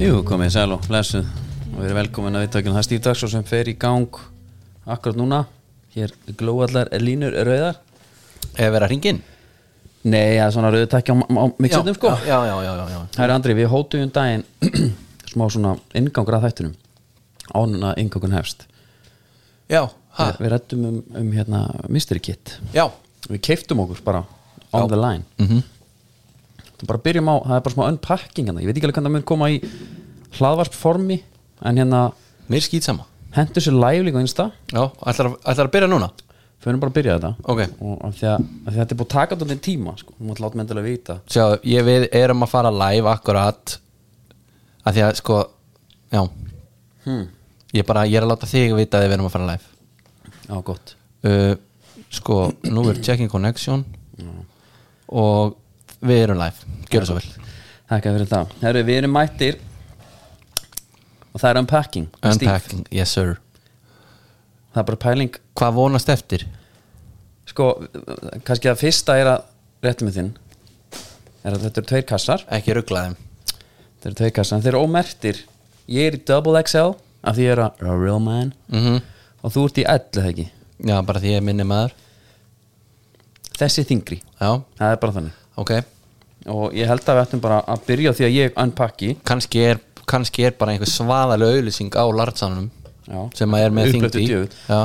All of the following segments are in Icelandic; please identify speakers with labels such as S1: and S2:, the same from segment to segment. S1: Jú, komið í sæl og blessuð og við erum velkomin að viðtökjum það er Stíf Dagsson sem fer í gang akkurat núna hér glóallar línur rauðar
S2: Eða vera hringin
S1: Nei, það er svona rauðu takki á, á mixetnum sko
S2: já, já, já, já, já.
S1: Herra Andri, við hótuðum um daginn smá svona inngangur að þættunum ánuna inngangun hefst
S2: já, ha,
S1: við, við rættum um, um hérna mystery kit
S2: já.
S1: við keiftum okkur bara on the line
S2: Mhm.
S1: það, bara byrjum á, það er bara smá unpacking hérna. ég veit ekki alveg hvernig það mun koma í hlaðvarp formi en hérna
S2: Mér skýt sama
S1: hendur sér live líka á insta
S2: Já, ætlar, að- ætlar að byrja núna
S1: fyrir bara að byrja þetta
S2: Ok.
S1: og af því að, af því að þetta er búið að taka þetta tíma sko. við mátt láta myndilega vita
S2: Sjá, ég við erum að fara live akkurat að Því að sko Já Hmm. Ég bara, ég er að láta þig vita að við erum að fara live
S1: já gott
S2: uh, Sko, nú er checking connection Og við erum live Gjörðu svo vel
S1: þakka fyrir það Herru, við erum mættir og það er unpacking Steve.
S2: Unpacking, yes sir
S1: það er bara pæling
S2: Hvað vonast eftir?
S1: sko kannski það fyrsta er að réttu með þinn er að þetta eru tveir kassar
S2: Ekki rugglaðum
S1: þetta eru tveir kassar en þeir eru ómertir ég er í double XL af því ég er að a real man
S2: mm
S1: og þú ert í 11 hegi
S2: Já, bara því ég er minni maður
S1: þessi þingri
S2: Já,
S1: það er bara þannig
S2: ok
S1: og ég held að við ættum bara að byrja á því að ég unpacki
S2: kannski er, kannski er bara einhver svaðalega auðlýsing á lartsanum
S1: Já.
S2: sem að er með
S1: Upphlaup
S2: þyngd
S1: til
S2: í
S1: djöfull.
S2: já,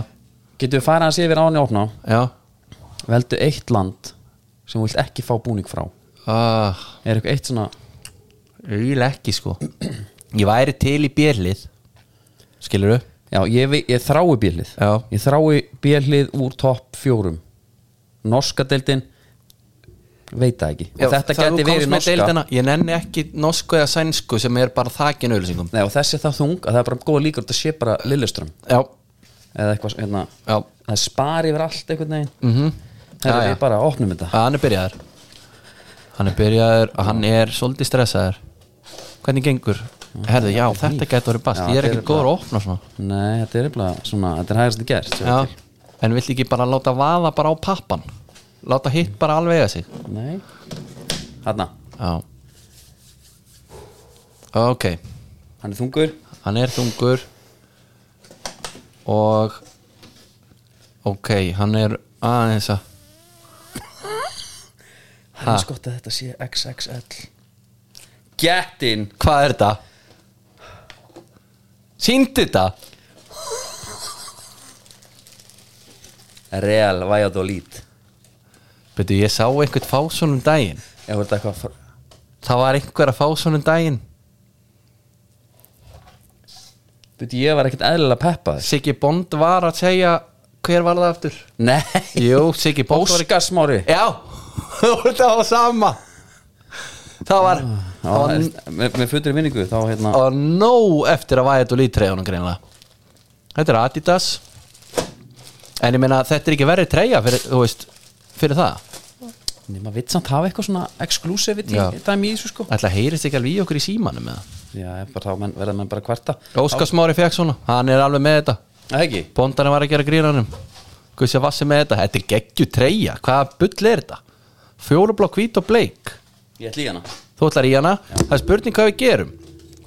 S1: Getur við farið hans yfir áni opna
S2: já
S1: Veldu eitt land sem þú vilt ekki fá búning frá
S2: ah,
S1: Er eitthvað eitt svona
S2: Ríla ekki sko Ég væri til í björlið Skilurðu?
S1: Já, ég, vi- ég þrái bílið
S2: Já.
S1: Ég þrái bílið úr topp fjórum Norska deildin Veit það ekki Og þetta
S2: það-
S1: geti
S2: þú komst
S1: verið
S2: með
S1: norska
S2: deildina, Ég nenni ekki norsku eða sænsku sem er bara þakin auðlýsingum
S1: Nei, og þessi er það þung að það er bara góða líkur að þetta sé bara Lilleström
S2: Já,
S1: eða eitthvað hérna
S2: já,
S1: Það er spar yfir allt einhvern veginn mm -hmm. Það
S2: Já,
S1: er
S2: já.
S1: við bara að opnum þetta
S2: að hann er byrjaður Hann er byrjaður og hann er svolítið stressaður Hvernig gengur? Herðu, já, þetta getur verið bast
S1: Já,
S2: Ég er
S1: þetta
S2: ekki
S1: er
S2: góður að opna svona
S1: Nei, þetta er eitthvað svona Þetta er hægast að gerst sjá
S2: Já,
S1: til.
S2: en vill ekki bara láta vaða bara á pappan Láta hitt bara alveg að sig
S1: Nei Hanna,
S2: Já Ok,
S1: hann er þungur
S2: hann er þungur Og Ok, hann er aðeins að
S1: Það er skott að þetta sé XXL Get in
S2: Hvað er þetta? Sýndi þetta?
S1: Real Valladolid
S2: Betur, ég sá einhvern fá svona um daginn
S1: Ef þetta eitthvað fr...
S2: Það var einhver að fá svona um daginn
S1: Buti, ég var ekkert eðlilega peppaður
S2: Siggi Bond var að segja Hver var það aftur?
S1: Nei
S2: Jú, Siggi Bond var
S1: Óskarsmári
S2: Já, það var sama Það var Það var,
S1: Með með fullri vinningu þá hérna
S2: það var nóg eftir að væja þetta lít treyjunum greinlega Þetta er Adidas En ég meina þetta er ekki verri treyja fyrir, þú veist, fyrir það
S1: Nei, maður vill samt hafa eitthvað svona exclusivity
S2: Já.
S1: dæmi í þessu sko
S2: Ætla heyrist ekki alveg í okkur í símanum með það
S1: Já, ég bara þá menn, verða menn bara að kvarta
S2: Óskarsmári fekk svona, hann er alveg með þetta
S1: Það ekki
S2: Bóndarinn var að gera grínanum Guðsja vassi með þetta, þetta er geggju treyja Hvaða bull er þetta? Fjólublá hvít og bleik
S1: Ég ætla í hana
S2: þú ætlar í hana það er spurning hvað við gerum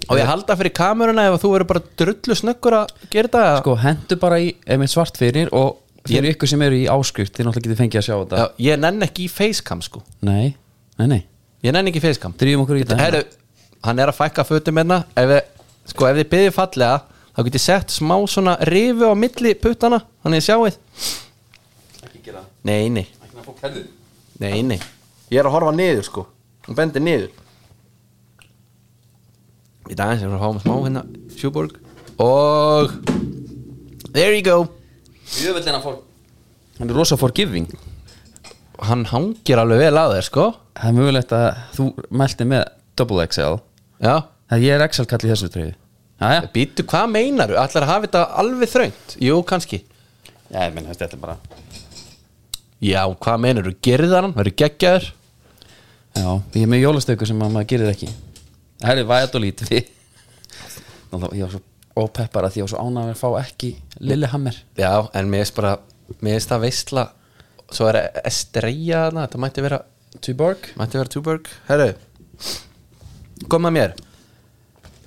S2: og ég halda fyrir kameruna ef þú verður bara drullu snöggur að gera þetta
S1: Sko, hendu bara í einmitt svart fyrir og fyrir ykkur sem eru í áskrift þið náttúrulega getið fengið að sjá þetta
S2: Já, ég nenn ekki í facecam sko
S1: Nei, nei, nei
S2: ég nenn ekki í facecam
S1: Drífum okkur í þetta
S2: Heru, hann er að fækka fötum hérna ef, við- sko ef þið byrðið fallega þá getið sett smá svona rifu á milli puttana þannig að sjáið
S1: Ekki gera það
S2: nei, nei,
S1: Ekki með að fók herðu
S2: nei, nei ég er að horfa niður sko hún bendir niður í dagins ég er að fá mig smá hérna sjúborg og there you go
S1: Jöfell en að fór Hann er rosa forgiving
S2: hann hangir alveg vel að þér sko
S1: Það er mögulegt að þú meldi með Double XL
S2: já,
S1: Það ég er XL kall í þessu treyfi Jæja
S2: býtu hvað meinaru ætlar að hafa þetta alveg þröngt jú, kannski,
S1: Já, ég menn, þetta er bara
S2: já, hvað meinaru gerðan hann, verður geggjaður
S1: Já, ég er með jólastöku sem að maður gerir ekki Það er væðat og lítið Við- Náttúrulega, ég var svo ópeppar að því ég var svo ánægður að fá ekki Lillehammer
S2: já, en mér finnst bara mér finnst það veistla svo er Estrella þarna, þetta mætti vera
S1: Tuborg
S2: mætti vera Tuberg, herru koma mér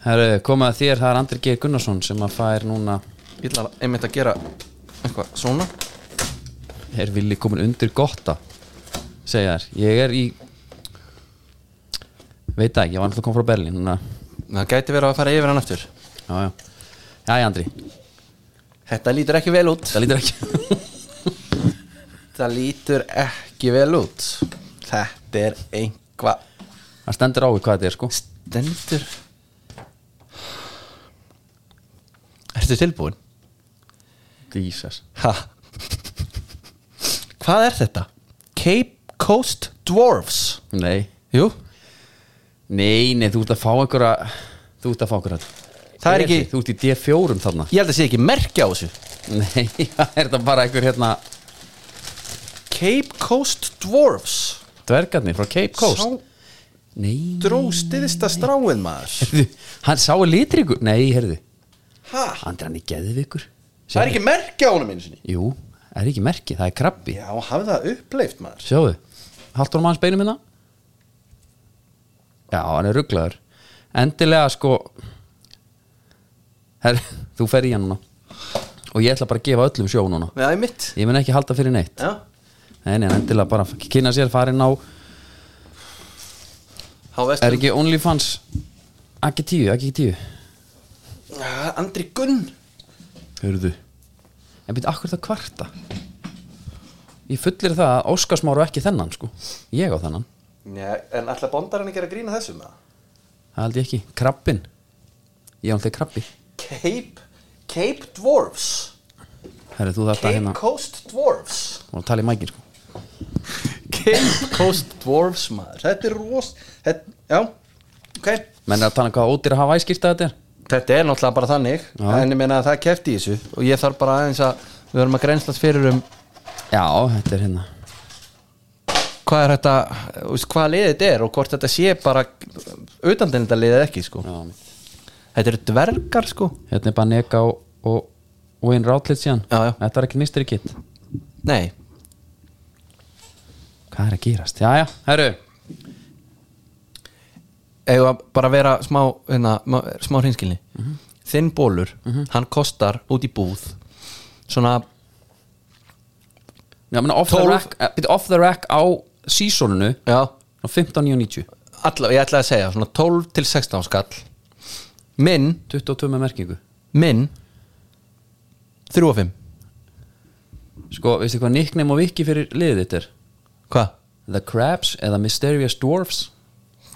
S1: Herru, komið að þér, það er Andri Geir Gunnarsson sem að fær núna,
S2: Ég ætla einmitt að gera eitthvað svona
S1: er villi komin undir gotta segja þér, ég er í veit það ekki, ég var náttúrulega kom frá Berlín þannig að,
S2: Það gæti verið að fara yfir hann aftur
S1: já, já Jæja, Andri,
S2: Þetta lítur ekki vel út
S1: það lítur ekki
S2: Það lítur ekki vel út Þetta er einhvað
S1: Það stendur á við hvað þetta er, sko
S2: Stendur Ertu tilbúin?
S1: Jesus
S2: Ha? Hvað er þetta? Cape Coast Dwarfs
S1: Nei,
S2: Jú,
S1: nei, nei, þú ert að fá einhverja Þú ert að fá einhverja
S2: Það er ekki-
S1: Þú ert í D4 um þarna
S2: ég held að sé ekki merkja á þessu
S1: Nei, það er það bara einhver hérna
S2: Cape Coast Dwarfs
S1: Dvergarnir frá Cape Coast
S2: Sá
S1: Nei
S2: dróstiðista stráin maður
S1: Heyrðu, Hann sá er litrikur Nei, heyrðu
S2: ha?
S1: Andri hann er geðvikur
S2: Það er ekki merkja á honum einu sinni
S1: Jú, það er ekki merki, það er krabbi
S2: Já, hafði það uppleift maður
S1: Sjáðu, haldur hann manns beinum hérna Já, hann er rugglaður Endilega sko Her, Þú fer í hann núna Og ég ætla bara að gefa öllum sjó núna
S2: Já, ég mitt
S1: Ég mun ekki halda fyrir neitt
S2: Já
S1: Nei, nei, endilega bara kynna sér farin á
S2: Há
S1: Er
S2: vestur
S1: ekki OnlyFans Akki tíu, akki tíu
S2: Ah, Andri Gunn
S1: Hörðu En býtt, akkur það kvarta Ég fullir það að Óskarsmáru ekki þennan sko Ég á þennan,
S2: Já, en ætla bondar hann ekki að grína þessu með
S1: það held ég ekki Krabbin, ég á alltaf krabbi
S2: Cape Cape Dwarfs
S1: Herri, þú þarft að hérna
S2: Coast Dwarfs
S1: og tala í mækin sko
S2: Cape Coast Dwarfs maður Þetta er rost þetta, Já, ok
S1: Menn er að tala um hvað ódýr að hafa æskýrta þetta er
S2: Þetta er náttúrulega bara þannig
S1: Já.
S2: En ég meina að það kefti í þessu Og ég þarf bara aðeins að Við verðum að grenslast fyrir um
S1: Já, þetta er hérna
S2: hvað er þetta þú veist, hvaða liðið þetta er og hvort þetta sé bara utandilenda liðið ekki sko.
S1: Já, mitt.
S2: þetta eru dvergar sko
S1: Hérna er bara neka og, og Wayne Routledge síðan
S2: Já, já.
S1: Þetta er ekki mystery kit
S2: nei,
S1: Hvað er að gerast? Já, já, herru
S2: eða bara að vera smá, hérna, ma- smá hinskilni
S1: Mhm.
S2: þinn bólur, hann kostar út í búð svona
S1: Já, menn off, the
S2: Tólf-
S1: rack, eh, bíddu, off the rack á seasoninu
S2: já,
S1: á 15.90
S2: alla, ég ætlaði að segja svona 12 til 16 skall minn,
S1: 22 með merkingu
S2: minn 3 og 5
S1: Sko, veistu hvað nickname og viki fyrir liðið þetta er?
S2: hvað?
S1: The Crabs eða Mysterious Dwarfs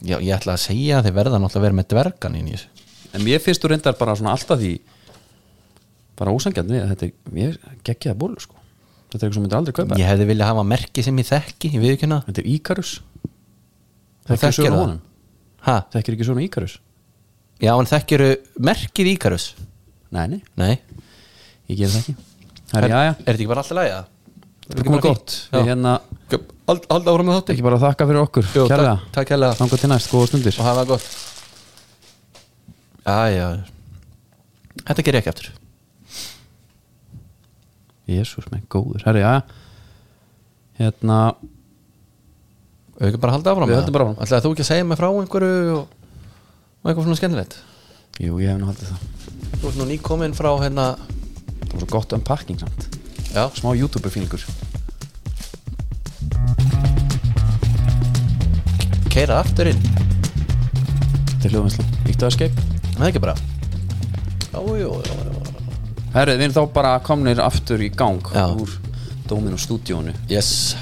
S2: Já, ég ætlaði að segja að þið verða náttúrulega að vera með dvergan inn í þessu
S1: En mér finnst þú reyndar bara svona alltaf því bara ósangjarn við að þetta er mér geggjaða bólu sko Þetta er eitthvað sem myndir aldrei kaupa
S2: Ég hefði viljað hafa merki sem ég þekki, ég við ekki hana
S1: Þetta er Íkarus
S2: Þú
S1: Þekkir
S2: þekkir
S1: söguna
S2: það?
S1: honum
S2: Ha?
S1: Þekkir ekki svona Íkarus
S2: Já, en þekkiru merkið Íkarus
S1: Nei, nei,
S2: Nei
S1: ég ger það ekki Herri, já, já,
S2: Er þetta ekki bara alltaf lægja?
S1: þetta er komið gott Við hérna
S2: Alltaf ára með þátti
S1: ekki bara að þakka fyrir okkur
S2: Jú,
S1: Kjærlega,
S2: takk- takk kærlega.
S1: Þangað til næst, góða stundir
S2: Og hafa það gott Já, já Þetta ger ég ekki eftir
S1: Jésús, menn góður, herri, já, já Hérna,
S2: Við ekki bara að halda áfram
S1: Við höldum bara áfram.
S2: Ætlaði þú ekki að segja mig frá einhverju og, og eitthvað svona skemmtilegt
S1: jú, ég hef nú haldið það
S2: Þú ert nú nýkominn frá hérna
S1: Það var svo gott um pakking samt
S2: Já,
S1: Smá YouTube fílingur
S2: keira aftur inn
S1: Þetta er hljóðvinslan, íttu að escape
S2: Það er ekki bara Já, jú, já, já, já
S1: Herri, við erum þá bara komnir aftur í gang
S2: Já.
S1: úr Dóminu stúdíónu
S2: Yes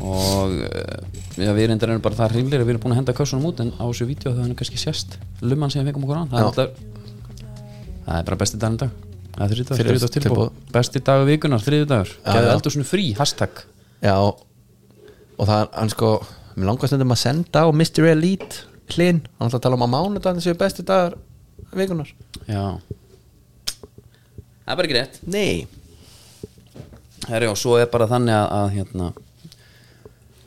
S1: og uh, já, við reyndar erum bara það hryllir að við erum búin að henda kössunum út en á þessu vídeo það er kannski sérst lumman sem við fengum okkur á það er,
S2: Já.
S1: alltaf, það er bara besti dagur en dag það er þriðdagur,
S2: Þriðjudags
S1: þriðdags tilbúð
S2: tilboð.
S1: besti dagur vikunar, þriðdagur
S2: Já,
S1: gefðu
S2: já.
S1: eldur svona frí, hashtag
S2: Já Og það er hann sko Mér langast nefndum að senda á Mr. Elite Klin Hann ætla að tala um að mánudaginn séu besti dagar vikunar
S1: já það er bara ekki rétt
S2: Nei
S1: Herri, og svo er bara þannig að, að hérna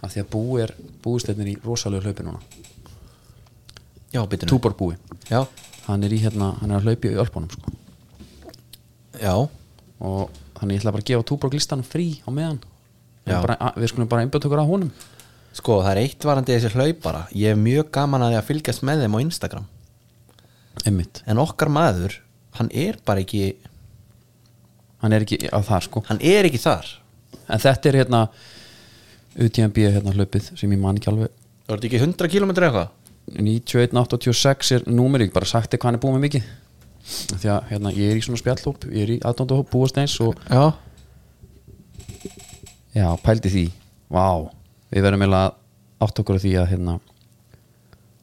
S1: að því að búi er búistefnir í rosalegu hlaupi núna
S2: Já, býtum
S1: túbor búi,
S2: Já
S1: hann er í hérna hann er að hlaupi í ölpunum sko
S2: Já
S1: og þannig ég ætla bara að gefa Túborg listanum frí á meðan Við
S2: Já.
S1: bara, að, við skulum bara einbjöðtökur að honum
S2: Sko, það er eitt varandi þessi hlaupara Ég hef mjög gaman að því að fylgjast með þeim á Instagram
S1: einmitt
S2: en okkar maður, hann er bara ekki
S1: Hann er ekki á það sko
S2: hann er ekki þar
S1: En þetta er hérna UTMB hérna hlaupið sem ég man ekki alveg
S2: Það er ekki 100 km eitthvað
S1: 91.86 er númer ég get bara sagt þig hvað hann er búið með mikið Af Því að hérna, ég er í svona spjallhóp ég er í aðdóndahóp búast eins og
S2: Já
S1: já, pældi því, vá við verðum eiginlega að átt okkur á því að hérna,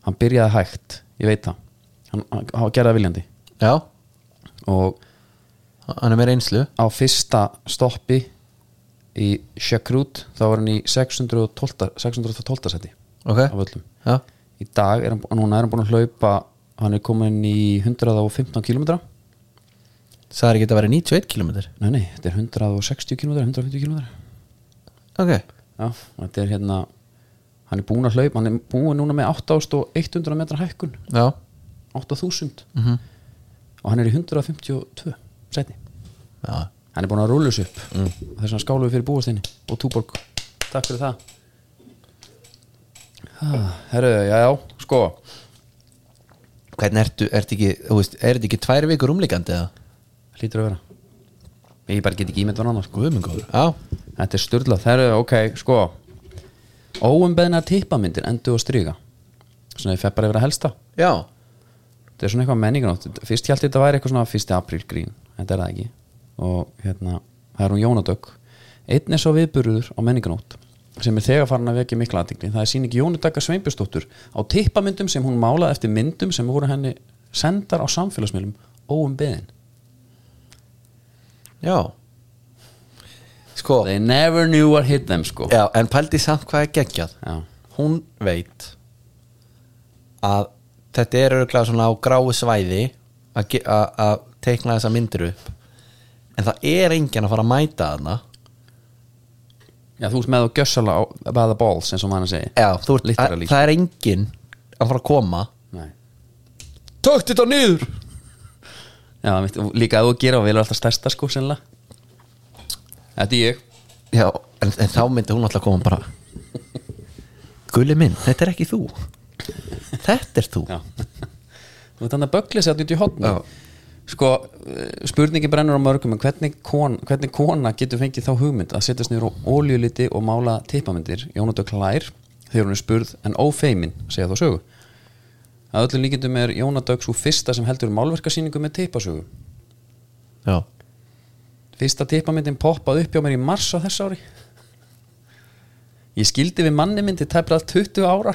S1: hann byrjaði hægt ég veit það, hann, hann, hann gerði það viljandi
S2: Já,
S1: og
S2: hann er með reynslu
S1: á fyrsta stoppi í Sjökrút þá var hann í 612 612 seti
S2: Ok
S1: af öllum
S2: Já,
S1: í dag er hann, núna er hann búin að hlaupa hann er komin í 115 km
S2: það er ekki að vera 91 km
S1: nei nei, þetta er 160 km 150 km
S2: Ok
S1: já, þetta er hérna hann er búin að hlaupa, hann er búin núna með 8100 metra hækkun
S2: Já
S1: 8000
S2: mm
S1: og hann er í 152 seti
S2: Já
S1: hann er búin að rúlus upp mm. þess að skálu við fyrir búastinni og túborg takk fyrir það Ah, herru, já, já, sko
S2: Hvernig ertu, ertu ekki, þú veist, er þetta ekki tvær vikur umlíkandi eða?
S1: hlýtur að vera ég bara get ekki ímynd var annars sko
S2: Guðmengóður Já
S1: Þetta er styrla, það eru, ok, sko Óumbeðna tippamyndir endur og stryga Svona ég fæ bara yfir að helsta
S2: Já
S1: Þetta er svona eitthvað menningunótt Fyrst hjálti þetta væri eitthvað svona 1. apríl grín Þetta er það ekki Og hérna, það er hún Jónadögg Einn er svo viðburður á menningunótt sem er þegar farin að vekja mikla aðtikli það er sýning Jónadögga Sveinbjörnsdóttur á tippamyndum sem hún málaði eftir myndum sem voru henni sendar á samfélagsmiðlum óumbeðin
S2: Já Sko
S1: They never knew what hit them sko
S2: Já, en pældi samt hvað er geggjað
S1: Já.
S2: Hún veit að þetta er örgulega svona á gráu svæði að ge- að að teikna þessa myndir upp en það er enginn að fara að mæta þarna
S1: Já, þú ert með og gjössala á by the balls eins og mann að segja
S2: Já, þú ert, að,
S1: Literally.
S2: það er enginn að fara að koma
S1: Nei.
S2: Tökt þetta niður
S1: Já, mitt, og líka að þú gera og velur alltaf stærsta sko sennilega Þetta er ég
S2: Já, en, en þá myndi hún alltaf koma bara Gulli minn, þetta er ekki þú Þetta er þú
S1: Já. Þú veit hann að bögli sér út í hotni
S2: Já.
S1: Sko, eh, spurningin brennur á mörgum en hvernig, kon, hvernig kona getur fengið þá hugmynd að setjast niður á óljuliti og mála tippamyndir Jónata Klær þegar hún er spurð en ófeimin segja þá sögu að öllum líkindum er Jónadögg svo fyrsta sem heldur málverkasýningu með tippasögu
S2: Já,
S1: Fyrsta tippamyndin poppaði upp hjá mér í mars á þess ári Ég skildi við manni myndi tæplað 20 ára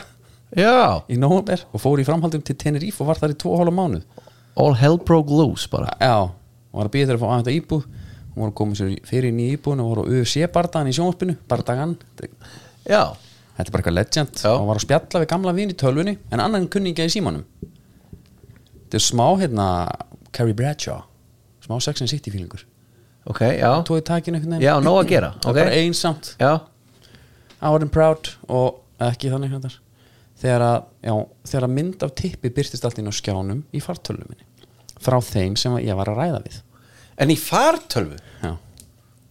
S2: Já.
S1: í nóvember og fór í framhaldum til Tenerife og var þar í 2,5 mánuð
S2: all hell broke loose bara
S1: Já, og var að býja þeirra að fá aðeins íbúð hún var að koma sér fyrir inn í íbúðinu og voru UFC bardagan í sjónvarpinu bardagan, þetta
S2: Já,
S1: er bara eitthvað legend
S2: Já.
S1: og var að spjalla við gamla vini í tölvunni en annan kunningja í símanum Þetta er smá hérna Carrie Bradshaw, smá Sex and City fílingur
S2: ok, já
S1: tóði takinu einhvern veginn
S2: Já, nóg að gera,
S1: Það
S2: ok
S1: er bara einsamt
S2: Já,
S1: Out and Proud og ekki þannig hættar þegar að, já, þegar að mynd af tippi byrtist allt inn á skjánum í fartölvu minni frá þeim sem ég var að ræða við
S2: en í fartölvu
S1: já.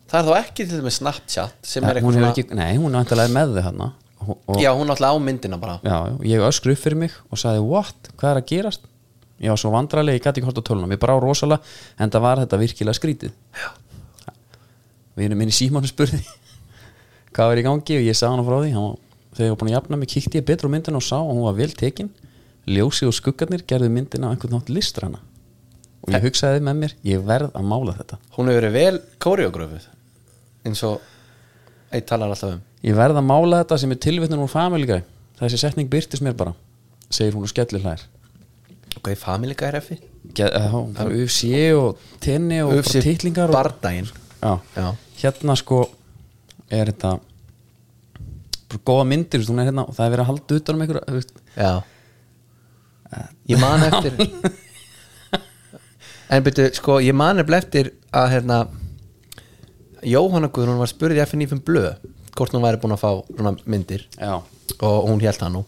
S2: Það er þá ekki til með Snapchat sem er
S1: hún hefur
S2: eitthvað svona
S1: ekki, nei, hún er vantilega með þau hann og, og já.
S2: Já, hún alltaf á myndina bara
S1: Já, ég öskru upp fyrir mig og sagði what, hvað er að gerast ég var svo vandrarlega, ég gæti ekki hort á tölunum ég brá rosalega, en það var þetta virkilega skrítið
S2: Já.
S1: við erum minni símanu spurði hvað var í gangi og ég sagði hann frá því hann, var- þegar ég var búin að jafna mig, kíkti ég betur á myndina og sá að hún var vel tekin ljósið og skuggarnir gerðu myndina á einhvern nátt listrana og ég hugsaði með mér ég verð að mála þetta
S2: Hún hefur verið vel kóriogröfuð eins og eitt talar alltaf um
S1: ég verð að mála þetta sem er tilvittnum úr Family Guy þessi setning byrtist mér bara segir hún og skellir hlær
S2: Ok, Family Guy refi
S1: eh, UFC E og tenni og bara titlingar og,
S2: Bardaginn
S1: E já.
S2: Já.
S1: hérna sko er þetta bara góða myndir, þú veist, hún er hérna og það er verið að halda utan um einhverja þú veist,
S2: Já Ég man eftir En byrju, sko, ég man eftir eftir að hérna Jóhanna Guðrún var spurði FNF um blöð hvort hún væri búin að fá svona myndir
S1: Já,
S2: og hún held það nú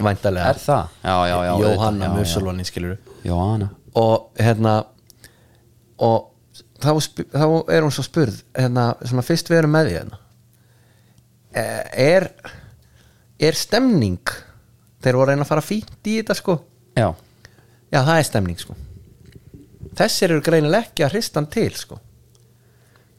S2: væntalega
S1: er það? Já, já, já
S2: Jóhanna
S1: auðvitað, já,
S2: Mursulvanin skilur
S1: já. Jóhanna
S2: og hérna og þá, sp- þá er hún svo spurð hérna, svona fyrst við erum með því hérna Eh, er er stemning þeir voru að reyna að fara fínt í þetta sko
S1: Já,
S2: já það er stemning sko þessir eru greinilega ekki að hrista hann til sko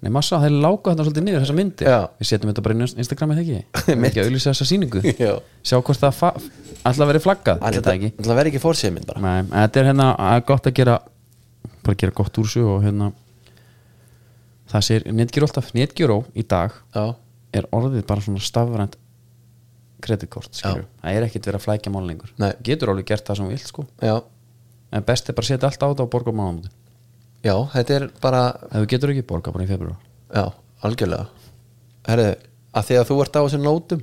S1: Nei, massa, þeir láka þetta svolítið niður þessa myndi
S2: Já.
S1: Við setjum þetta bara inn á Instagram eða ekki Ekki
S2: Mitt.
S1: að auðlýsa þessa sýningu
S2: Já.
S1: Sjá hvort það fa- ætla að vera flaggað Ég veit það ekki
S2: Það verður ekki fórsýðið minn bara
S1: Nei, en þetta er hérna að gott að gera bara gera gott úr svo og hérna það sér netgjur alltaf netgjuró í dag
S2: Já,
S1: er orðið bara svona stafrænt kreditkort skilur það er ekkert verið að flækja mál lengur
S2: Nei.
S1: getur alveg gert það sem þú vilt sko
S2: já,
S1: en best er bara að setja allt á þetta og borga á mánamóti
S2: já, þetta er bara
S1: ef þú getur ekki borga bara í februar
S2: Já, algjörlega Herðu, að því að þú ert á þessum nótum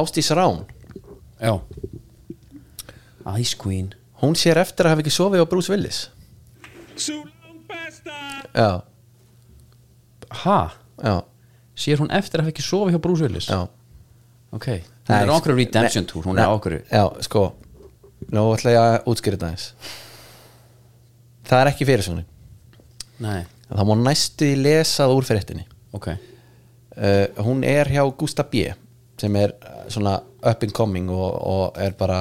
S2: Ástís Rán
S1: já Ice Queen
S2: Hún sér eftir að hafa ekki sofið á Bruce Willis Já,
S1: ha?
S2: já,
S1: sér hún eftir að hafa ekki sofið hjá Bruce Willis
S2: já sko,
S1: ok hún er á okkur redemption tour hún er á okkur
S2: Já, sko Nú ætla ég að útskýra þetta eins Það er ekki fyrir svona
S1: nei
S2: Það má næstu því lesað úr fyrirtinni
S1: ok
S2: uh, Hún er hjá Gustaf B sem er eh, svona up and coming og, og er bara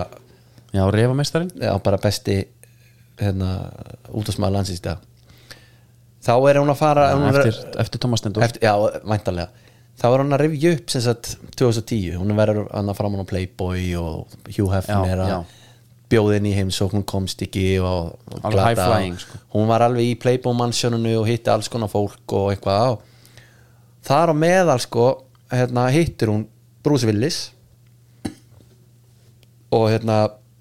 S1: já reyfameistarinn
S2: já, bara besti hérna, útosmaður landsins í dag þá er hún að fara hún er,
S1: eftir, eftir Thomas Stendur
S2: eftir, já, væntanlega þá er hún að rifja upp sem sagt 2010, hún verður hann að fram á Playboy og Hugh Hefner
S1: Já, já.
S2: bjóðin í heimsókn hún komst ekki og, og
S1: Alveg
S2: glata.
S1: high flying, sko.
S2: hún var alveg í Playboy mannsjónunu og hitti alls konar fólk og eitthvað á þar á meðal sko hérna, hittir hún Bruce Willis og hérna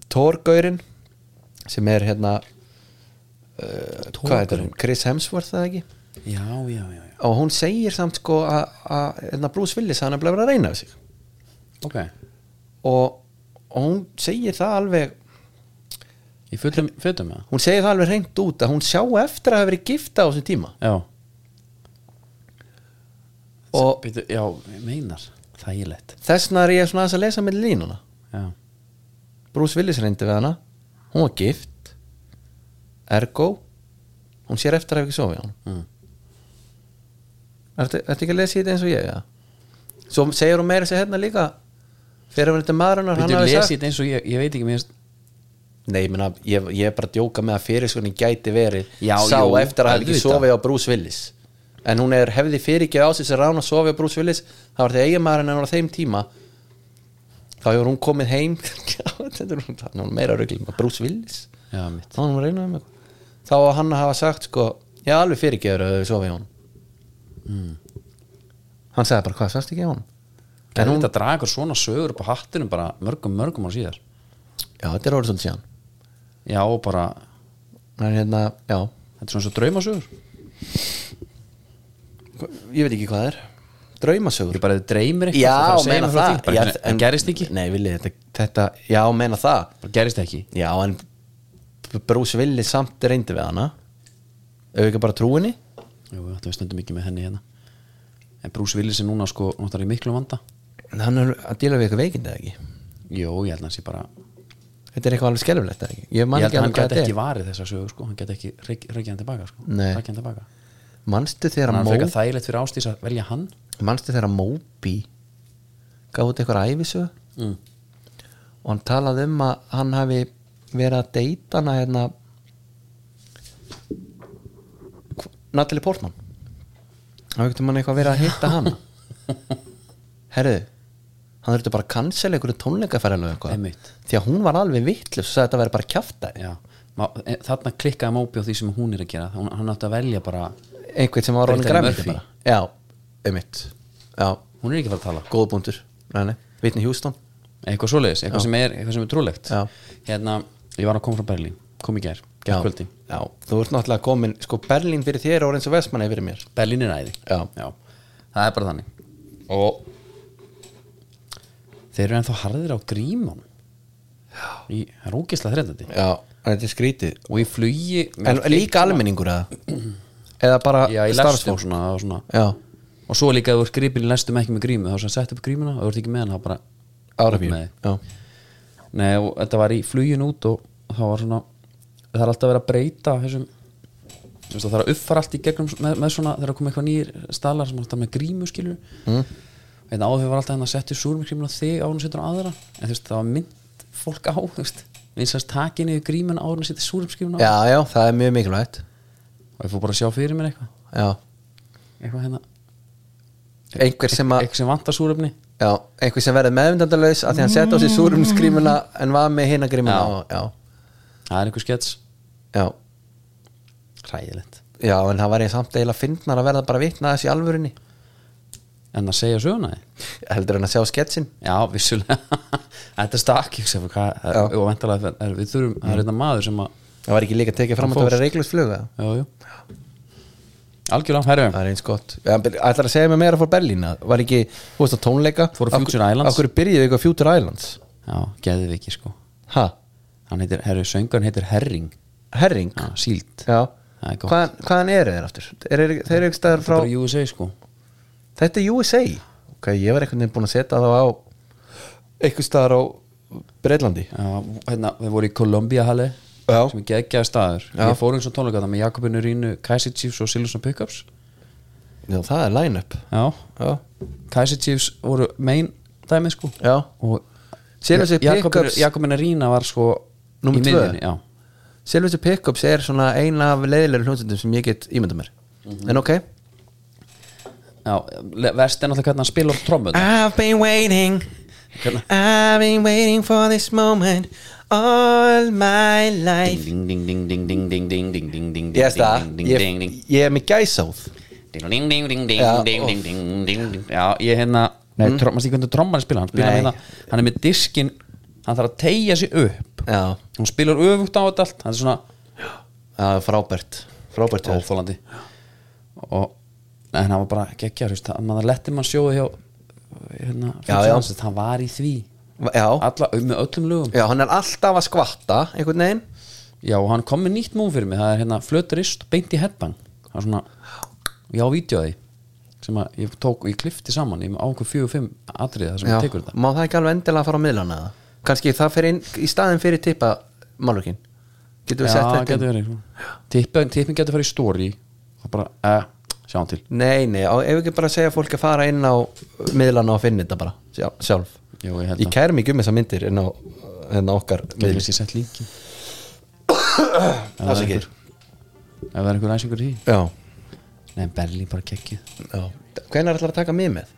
S2: Thorgaurinn sem er hérna uh, hvað heitir hún? Chris Hemsworth eða ekki?
S1: já já já, já.
S2: og hún segir samt sko að- að hérna, Bruce Willis hann er bleið að reyna af sig
S1: ok
S2: og, og hún segir það alveg
S1: í fötum, fötum eða?
S2: hún segir það alveg reynd út að hún sjá eftir að hafa verið gifta á þessum tíma
S1: já
S2: og
S1: Býtu, já, ég meinar, þægilegt
S2: þess vegna er ég svona aðeins að lesa með línuna
S1: já,
S2: Bruce Willis reyndi við hana hún var gift ergo hún sér eftir að hafa ekki sofið á hann
S1: Mm.
S2: Ertu, ertu ekki að lesa í þetta eins og ég ja? Svo segir hún meira sér hérna líka fyrir að vera þetta maður hennar
S1: Býtu,
S2: hann hafi
S1: lesi
S2: sagt
S1: þetta eins og ég, ég veit ekki mér finnst-
S2: Nei, ég, meina, ég, ég er bara að djóka með að fyrir sko gæti verið
S1: Já,
S2: sá
S1: jú,
S2: eftir að hafa ekki
S1: auðvitað.
S2: sofið á Bruce Willis en hún er hefði fyrirgeð á sig sem rána að sofið á Bruce Willis það var þegar eiginmaðurinn hennar á þeim tíma þá hefur hún komið heim Já, þetta er hún, þarna er hún meira rugglum Bruce Willis,
S1: já, mitt
S2: þá var hún að reyna um eitthvað þá var hann að hafa sagt sko ég alveg fyrirgeður að þau sofið á hún Hmm. hann sagði bara hvað sagst ekki á hún
S1: en hún að draga ykkur svona sögur upp á hattinum bara mörgum, mörgum ára síðar
S2: Já, þetta er orðið svolítið síðan
S1: já, og bara,
S2: en hérna, já,
S1: þetta er svona svo draumasögur
S2: ég veit ekki hvað það er draumasögur
S1: ég bara þið dreymir eitthvað
S2: Já,
S1: þú þarf að segja
S2: meina
S1: mér frá
S2: það
S1: því. bara,
S2: já,
S1: en, en gerist ekki,
S2: Nei, vilji, þetta, þetta, já, meina það
S1: bara gerist ekki
S2: Já, en Bruce Willis samt reyndi við hana Ef ekki bara trúinni
S1: jú, þetta við stöndum ekki með henni hérna en Bruce Willis er núna sko, náttúrulega í miklu vanda
S2: Hann er að díla við eitthvað veikindi eða ekki
S1: jú, ég held að hann sé bara
S2: Þetta er eitthvað alveg skelfilegt eða ekki Ég
S1: ég
S2: man
S1: held
S2: ekki
S1: að hann
S2: alveg hvað
S1: gæti ekki
S2: þetta
S1: varið þessa sögur sko, hann gæti ekki reykjaðan tilbaka sko,
S2: Nei.
S1: Rækja hann tilbaka
S2: er Manstu þegar
S1: hann er
S2: Mó
S1: frekar þægilegt fyrir ástís að velja hann
S2: Manstu þegar Moby gaf út eitthvað æfisög
S1: mm.
S2: og hann talaði um að hann hafi verið að deyta hana hérna Hv- Natalie Portman hann veitum hann eitthvað verið að hitta hana herðu hann þurfti bara að cancela einhverju tónleikaferðalög eitthvað
S1: Einmitt.
S2: því að hún var alveg vittlust og sagði að þetta verið bara kjafta
S1: Já, ma, e, þarna klikkaði Móbi á því sem hún er að gera hún, hann átti að velja bara
S2: einhvern sem var orðin
S1: Brittany
S2: græmiti
S1: Murphy.
S2: bara já, einmitt já,
S1: hún er ekki að fara að tala
S2: góða búndur Vitni Hjústón
S1: eitthvað svoleiðis, eitthvað sem er, eitthvað sem er trúlegt
S2: Já.
S1: hérna, ég var að koma frá Berlín kom í gær,
S2: já,
S1: gær kvöldi
S2: já, þú ert náttúrulega komin sko Berlín fyrir þér og eins og Vestmanni fyrir mér
S1: Berlín er æði
S2: Já.
S1: það er bara þannig og þeir eru ennþá harðir á gríman í, það er ógislega þreytandi
S2: já, þetta er skrítið
S1: og í flugi
S2: En líka almenningur eða? Eða bara
S1: já, í lestum
S2: starfsfólk?
S1: svona, og svona
S2: Já,
S1: og svo líka ef þú ert gripin í lestum ekki með grímu þá er sem sett upp grímuna og þú ert ekki með hann þá bara
S2: árafjör
S1: Nei.
S2: Já,
S1: Nei, og þetta var í flugin út og það var svona það er alltaf verið að breyta þessum þú veist, það er að uppfara allt í gegnum með, með svona, það er að koma eitthvað nýjir stalar sem er alltaf með grímu skilur mm. hérna en áður var alltaf hann að setja súrmikrimuna á þig á hann setur á aðra en þú veist, það var mynd fólk á þú veist vinsast takin yfir gríman áður en að setja súrumskrifun á
S2: já, já, það er mjög mikilvægt
S1: og ég fór bara að sjá fyrir mér eitthvað
S2: já,
S1: eitthvað hérna,
S2: einhver sem að
S1: eitthvað sem vantar súrumni
S2: já, einhver sem verður meðvindandalaus að því hann setja á sig súrum skrýmuna en var með hinna grímuna já,
S1: það er einhver skets
S2: já, já.
S1: ræðilegt
S2: Já, en það var ég samt eiginlega fyndnar að verða bara vitna þessi alvörinni
S1: en að segja söguna þið
S2: heldur en að sjá sketsin
S1: Já, vissulega Þetta er stakk, ég segi hvað
S2: Já.
S1: og vantarlega, við þurfum, það er þetta maður sem að
S2: Það var ekki líka tekið fram að það vera reiklust fluga
S1: Jú, jú Algjörlega, herru,
S2: Það er eins gott ja, Ætlar að segja mér meira fór Berlín að Var ekki, þú veist að tónleika
S1: Fóru Future
S2: Af hver-
S1: Islands.
S2: Af hverju byrjuðu ykkur Future Islands
S1: já, geðið við ekki sko
S2: Ha,
S1: Hann heitir, herru, söngarn heitir Herring
S2: herring
S1: Já, síld
S2: Já,
S1: Það er gott.
S2: Hvaðan, hvaðan eru þeir aftur? Er, er, þeir eru ekki staðar frá
S1: Frá USA sko
S2: Þetta er USA Ok, ég var einhvern veginn búin að setja þá á Einhvers staðar á Breitlandi
S1: já, hérna, Við vorum í Columbia Halle
S2: Já.
S1: sem er geðgeða staður
S2: Já.
S1: Ég fór eins og tónleika það með Jakobinu Rínu Kaiser Chiefs og Silvason Pickups
S2: Já, það er line-up
S1: Já,
S2: Já,
S1: Kaiser Chiefs voru main dæmið sko
S2: já
S1: og
S2: Silverson Pickups-
S1: Jakobinu Rína var sko
S2: Númer
S1: í
S2: tvö.
S1: miðjunni, Já
S2: Silvestre Pickups er svona eina af leiðilegur hljómsveitum sem ég get ímynda mér en ok
S1: Já, le- verst er náttúrulega hvernig hann spilar trommuna
S2: I've been waiting
S1: Hvernig-
S2: I've been waiting for this moment all my life
S1: Ding, ding, ding, ding, ding, ding, ding, ding, ding, ding,
S2: Ég veist það,
S1: ding, ding,
S2: ég,
S1: ding, ding,
S2: ég er með gæsáð
S1: ding, ding, ding, ding, ding,
S2: Já,
S1: ding,
S2: óff.
S1: ding, ding, ding, ding. Já, ég hérna Nei, mm. maður stík hvernig trommar spila Hann spila
S2: Nei.
S1: hérna, hann er með diskin Hann þarf að tegja sig upp
S2: Já,
S1: Hún spilar öfugt á þetta allt Hann er svona
S2: það er frábært Frábært hjá þér.
S1: óþólandi Og, en hann var bara geggja Maður lettir mann sjóði hjá hérna,
S2: Já,
S1: Fúsi
S2: já.
S1: Hansson, Hann var í því
S2: Já,
S1: Alla, með öllum lögum
S2: já, hann er alltaf að skvatta einhvern veginn
S1: Já, og hann kom með nýtt múf fyrir mig Það er hérna flöturist beint í headbang Það er svona, já, vídeoði sem að ég tók, ég klifti saman ég á okkur fjögur og fimm atriði þar sem
S2: já,
S1: ég tekur þetta
S2: Má það ekki alveg endilega að fara á miðlana eða? Kannski það fer inn í staðin fyrir tippa málurkin Getum við sett
S1: Já,
S2: þetta inn?
S1: getur verið Tippin, tippin getur farið í story og bara, eh, sjá hann til
S2: Nei, nei, á, ef ekki bara segja fólki að fara inn á miðlana og finna þetta bara sjá- sjálf
S1: Jú, ég held
S2: Ég
S1: að,
S2: kæri mikið um þessar myndir inn á, inn á okkar
S1: Hérna. getur
S2: miðlis
S1: þessi sett líki Ef
S2: Það sé ekki
S1: það er einhver æsingur í því
S2: Já,
S1: Nei, Berlín bara kekkið
S2: já Hvernig er allar að taka mig með?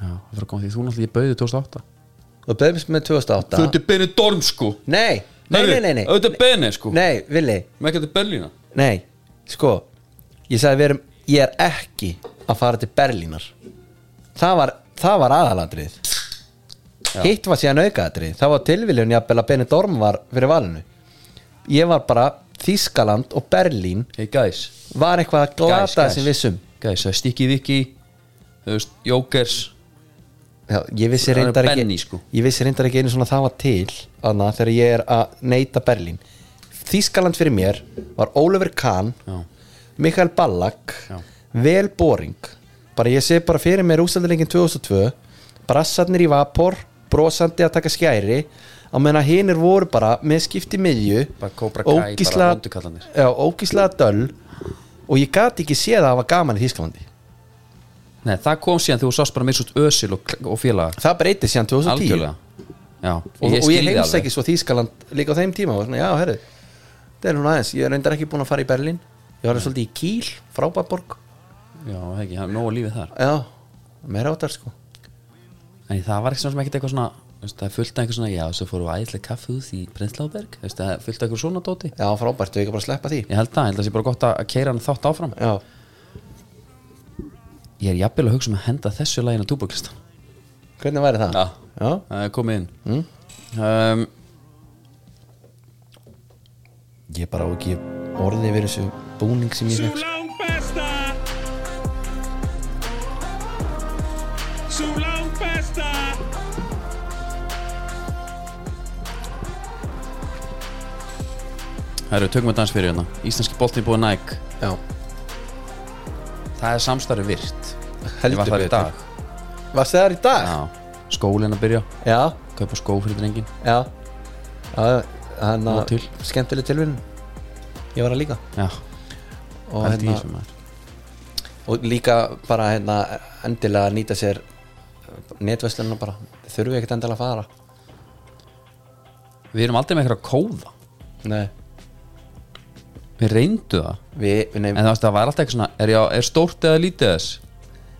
S1: Já, það fyrir að koma því þú náttúrulega ég bauði 2008
S2: Þú beðist með 2008
S1: Þú ertu benið dorm sko
S2: Nei, nei, nei, nei, nei
S1: Þú ertu benið sko
S2: Nei, Vili,
S1: Með getur Berlína
S2: nei, sko Ég sagði við erum, ég er ekki að fara til Berlínar Það var, það var aðalatrið Hitt var síðan aukaðatrið Það var tilviljun jafnvel að Benidorm var fyrir valinu Ég var bara Þískaland og Berlín
S1: Hey guys
S2: var eitthvað að glata
S1: Gæs, gæs.
S2: sem vissum
S1: Gæs, það er Stikki Viki Þú veist, Jókers
S2: Já, ég vissi
S1: Það er
S2: reyndar ekki
S1: Benny, sko.
S2: ég vissi reyndar ekki einu svona það var til annað, þegar ég er að neyta Berlín Þískaland fyrir mér var Ólafur Kahn
S1: Já.
S2: Mikael Ballack
S1: Já.
S2: Vel Boring bara ég sé bara fyrir mér ústældalengin 2002 brassarnir í vapor brosandi að taka skæri á meðan að hinir voru bara með skipti miðju
S1: Bara Cobra Kai, bara
S2: ógísla-
S1: vondukallarnir.
S2: já, ógíslega döl og ég gat ekki séð að það var gaman í Þískalandi
S1: Nei, það kom síðan þegar þú sást bara mér svo ösil og, og félaga
S2: það breytist síðan 2010
S1: Algjörlega Já,
S2: og ég,
S1: skil
S2: og ég
S1: þig alveg.
S2: heimsæki svo Þískaland líka á þeim tíma og svona, já, herru, það er hún aðeins ég er reyndar ekki búin að fara í Berlín ég var svolítið í Kíl, frábæðborg
S1: Já, það er ekki, það er nóg að lífið þar
S2: já, meira átar sko
S1: En það var ekki svona sem ekkert eitthvað svona þú veist, Það er fullt af einhver svona, já, þessu fóru æðislega kaffi út í Brennslauberg Það er fullt af einhver svona dóti
S2: já, frábært, þau ekki bara að sleppa því
S1: Ég held það, ég held það sé bara gott að keira hann þátt áfram
S2: já,
S1: Ég er jafnvel að hugsa um að henda þessu lagin á túbúrklistan
S2: hvernig væri það?
S1: Já.
S2: já,
S1: Það er komið inn mm.
S2: ég bara á ekki orðið yfir þessu búning sem ég
S3: Sú
S2: fekk sko.
S3: langt besta Sú langt besta
S1: um, Herru, tökum við dans fyrir hérna Íslenski boltinn búið Nike
S2: já,
S1: Það er samstarfi virt Ég var
S2: heldur
S1: þar í dag
S2: varst það þar í dag?
S1: Já, skólinn að byrja
S2: já,
S1: Kaupa skó fyrir drengin
S2: já, já hann
S1: Nóg til.
S2: að skemmtileg tilvinn ég var að líka
S1: Já,
S2: og,
S1: pældi í
S2: hérna,
S1: þessu, maður.
S2: og líka bara hérna, endilega nýta sér eh, netverslunum bara þurfum við ekkert endilega að fara
S1: Við við erum aldrei með eitthvað að kóða
S2: Nei,
S1: við reyndu það
S2: við, við
S1: en það, það var alltaf eitthvað svona er, já, er stórt eða lítið þess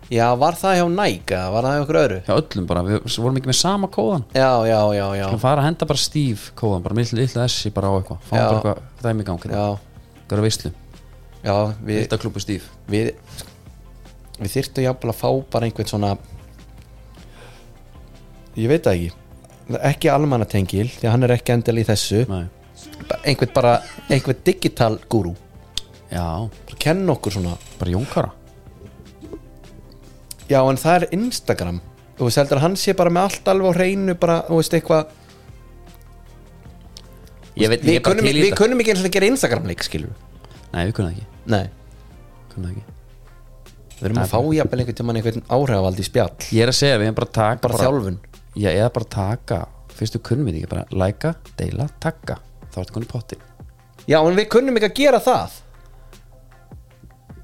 S2: Já, var það hjá Nike, eða var það hjá okkur öðru
S1: hjá öllum bara, við vorum ekki með sama kóðan
S2: Já, já, já, já
S1: við fara að henda bara stíf kóðan bara mill lilla þessi bara á eitthvað fáum
S2: Já.
S1: bara eitthvað dæmi í gang hérna.
S2: Já,
S1: það er veistlu
S2: já, við
S1: þetta klúpu stíf
S2: Við, við þyrftum jafnvel að fá bara einhvern svona Ég veit það ekki Ekki almannatengil, því að hann er ekki endal í þessu
S1: Nei.
S2: Bara Einhvern bara, einhvern digital guru
S1: já
S2: Bara Kenna okkur svona
S1: bara jónkara
S2: Já, en það er Instagram Þú veist, heldur að hann sé bara með allt alveg á hreinu bara, þú veist, eitthvað
S1: ég veit
S2: Við
S1: ég er bara
S2: kunnum,
S1: til í
S2: við
S1: þetta
S2: kunnum ekki eins og að gera Instagram-leik, skilur
S1: nei við kunnum það ekki,
S2: Nei,
S1: kunnum það ekki
S2: við erum að fá jafnvel einhvern tímann einhvern áhrifavald í spjall
S1: ég er að segja við erum bara að taka
S2: Bara, þjálfun
S1: Já, eða bara taka fyrstu kunnum við ekki, bara læka, deila, taka þá ertu kunni potti
S2: Já, en við kunnum ekki að gera það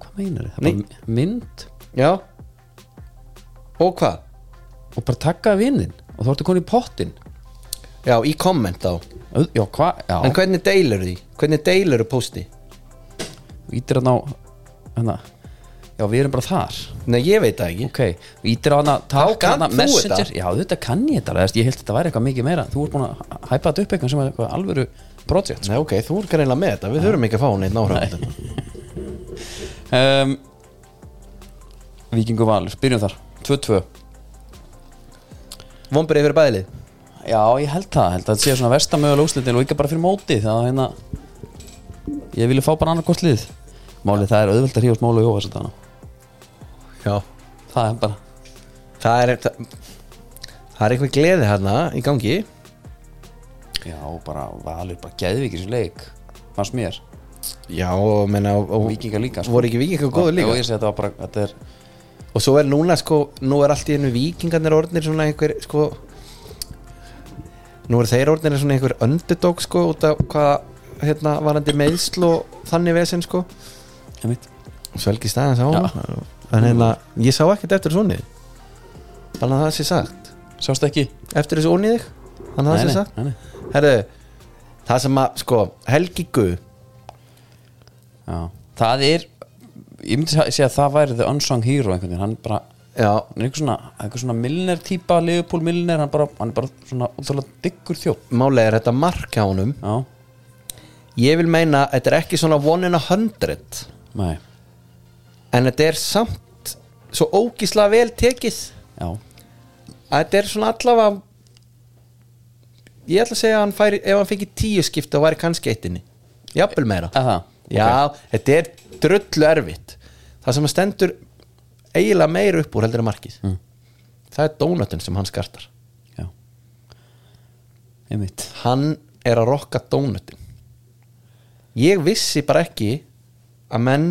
S1: hvað meinar þið? Það er bara mynd
S2: Já Og hvað?
S1: og bara taka vinnin og þá ertu kunni pottin
S2: Já, í komment þá
S1: Auð- já, hvað, já,
S2: En hvernig deilur því? Hvernig deilur posti?
S1: ítir að ná hana, hérna, já, við erum bara þar
S2: Nei, ég veit það ekki
S1: ok, ítir að hana,
S2: Þá
S1: taka
S2: kannt
S1: hana
S2: þú
S1: messenger,
S2: þetta.
S1: já, þetta kann ég þetta alveg, þú veist, ég held þetta væri eitthvað mikið meira þú ert búin að hæpa þetta upp eitthvað sem er eitthvað alvöru project,
S2: Nei, ok, þú er greinlega með þetta Við þurfum ekki að fá hún eitt náhrönd
S1: sko. um, Víkingu Valur, byrjum þar 2-2
S2: Vombrið fyrir bæðlið
S1: Já, ég held það, held að þetta sé svona vestamögulega úslitin og ekki bara fyrir móti það að hérna ég vilja fá bara annað hvort lið Málið það er auðvelt að hrífast mólu í hófa þetta
S2: Já
S1: Það er bara,
S2: Það er Það, það er eitthvað gleði hérna í gangi
S1: já, bara valur bara geðvíkir sem leik, fannst mér
S2: Já, og menna og, og,
S1: Víkingar líka,
S2: Voru ekki vikingar góðu líka
S1: Já, ég segi þetta var bara, þetta er
S2: Og svo er núna sko Nú er allt í einu vikingarnir orðnir svona einhver sko Nú er þeir orðnir svona einhver underdog sko Út af hvað hérna varandi meðsl og þannig vesinn sko
S1: einmitt.
S2: Svelgi staðins á
S1: Já.
S2: honum. En hérna, ég sá ekkert eftir þessu onnið Bara að það sé sagt
S1: Sjástu ekki?
S2: Eftir þessu onnið þig Þannig að það sé sagt
S1: nei, nei
S2: Herðu, það sem að sko Helgi Gu
S1: Já, það er ég myndi segja að það væri the unsung hero einhvern veginn, hann bara
S2: Já,
S1: hann er einhver svona, einhver svona millner típa, Liverpool millner, hann, bara, hann er bara svona útrúlega diggur þjótt
S2: málega er þetta mark hjá honum
S1: Já,
S2: Ég vil meina, þetta er ekki svona one in a hundred
S1: nei,
S2: en þetta er samt svo ógísla vel tekið
S1: já
S2: að þetta er svona allavega ég ætla að segja að hann færi ef hann fengi tíu skipta og væri kannski eittinni jafnvel meira
S1: Er það?
S2: já, þetta er drullu erfitt það sem að stendur eiginlega meira upp úr heldur en markið það er dónatin sem hann skartar
S1: Já Einmitt
S2: hann er að rokka dónatin ég vissi bara ekki að menn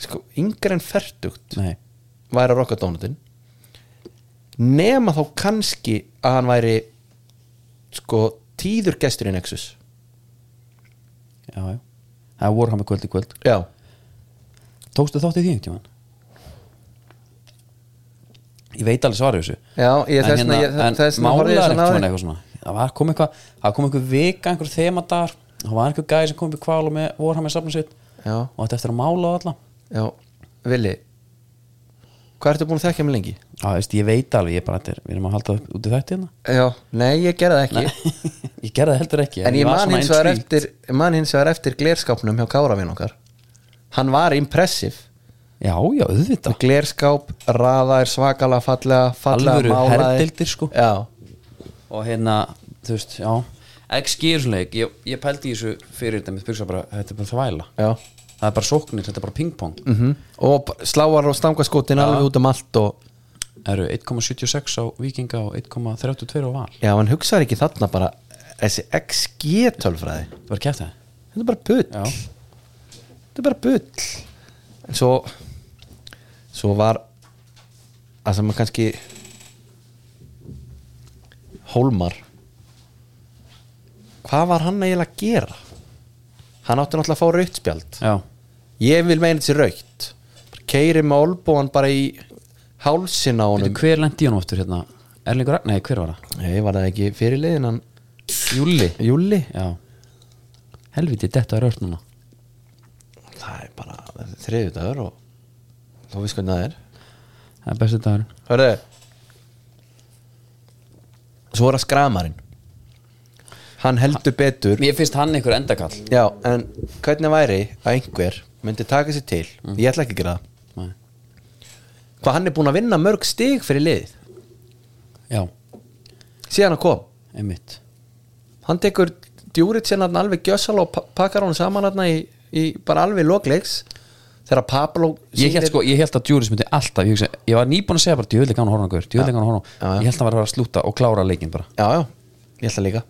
S2: sko, yngre en fertugt
S1: Nei
S2: væri að rokka dónatin nema þá kannski að hann væri sko tíður gestur í Nexus
S1: Já, já Það er Warhammer kvöld í kvöld
S2: já,
S1: Tókstu þátt í því einhvern tímann? Ég veit alveg svarið þessu
S2: já ég,
S1: En hérna,
S2: þess vegna- ég-
S1: en
S2: þess vegna
S1: málaðar
S2: horfði ég
S1: einhvern tímann
S2: svona á þig.
S1: eitthvað svona Það var kom eitthvað Það kom eitthvað vika, einhver þemadagar Það var einhver gæði sem kom upp í kvalu með Warhammer safnum sitt
S2: já,
S1: Og þetta eftir að mála á alla
S2: já, Vili hvað ertu búin að þekka mig lengi?
S1: Já, veist, ég veit alveg, ég bara þetta er Við erum að halda upp út í þetta hérna
S2: já, nei ég gerði það ekki
S1: Ég gerði það heldur ekki
S2: en ég
S1: var
S2: man
S1: svona
S2: hins vegar
S1: intrigued.
S2: eftir ég man hins vegar eftir glerskapnum hjá Káravinn okkar hann var impressiv
S1: Já, já, auðvitað
S2: glerskáp, raða er svakalega fallega, fallega
S1: Alvöru
S2: málaðir.
S1: herdeildir, sko.
S2: já,
S1: og hérna, þú veist, já XG er svona leik, ég, ég pældi í þessu fyrir þetta, mér spyrsa bara, þetta er bara þvæla
S2: já
S1: það er bara sóknir, þetta er bara pingpong mm.
S2: -hmm. og b- sláar og stangaskotin alveg út um allt og
S1: eru 1,76 á vikinga og 1,32 á val
S2: já, hann hugsaði ekki þarna bara þessi XG tölfræði
S1: það var kæft það,
S2: þetta er bara bull
S1: já,
S2: þetta er bara bull en svo svo var að sem að kannski Hólmar hvað var hann eiginlega að gera hann átti náttúrulega að fá rautspjald
S1: já,
S2: ég vil meina þessi raut keiri með olbúan bara í hálsin á honum
S1: Veitu, hver lendi í honum aftur hérna Erlingur Ragnar, nei, hver var það?
S2: Nei, var það ekki fyrirliðin hann
S1: Júli
S2: Júli
S1: Já Helviti, þetta er ört núna
S2: Það er bara þriðu dagur og þú veist hvernig það er
S1: Það er besti dagur
S2: Hörðu Svo er að skramarinn Hann heldur betur
S1: Mér finnst hann einhver endakall
S2: Já, en hvernig væri að einhver myndi taka sér til Ég ætla ekki að gera það
S1: Nei.
S2: Hvað hann er búin að vinna mörg stig fyrir liðið
S1: Já,
S2: Síðan hann kom
S1: einmitt
S2: Hann tekur djúrit sérna alveg gjössal og pa- pakkar hún saman hann í, í bara alveg lokleiks Þegar Pablo
S1: Ég held, sko, ég held að Djúris myndi alltaf Ég, hugsa, ég var nýbúin að segja bara djúðlega gana horna gaur Djúðlega gana horna
S2: Já, já.
S1: Ég held að hann var að fara að slúta og klára leikinn bara
S2: Já, já, ég ætla líka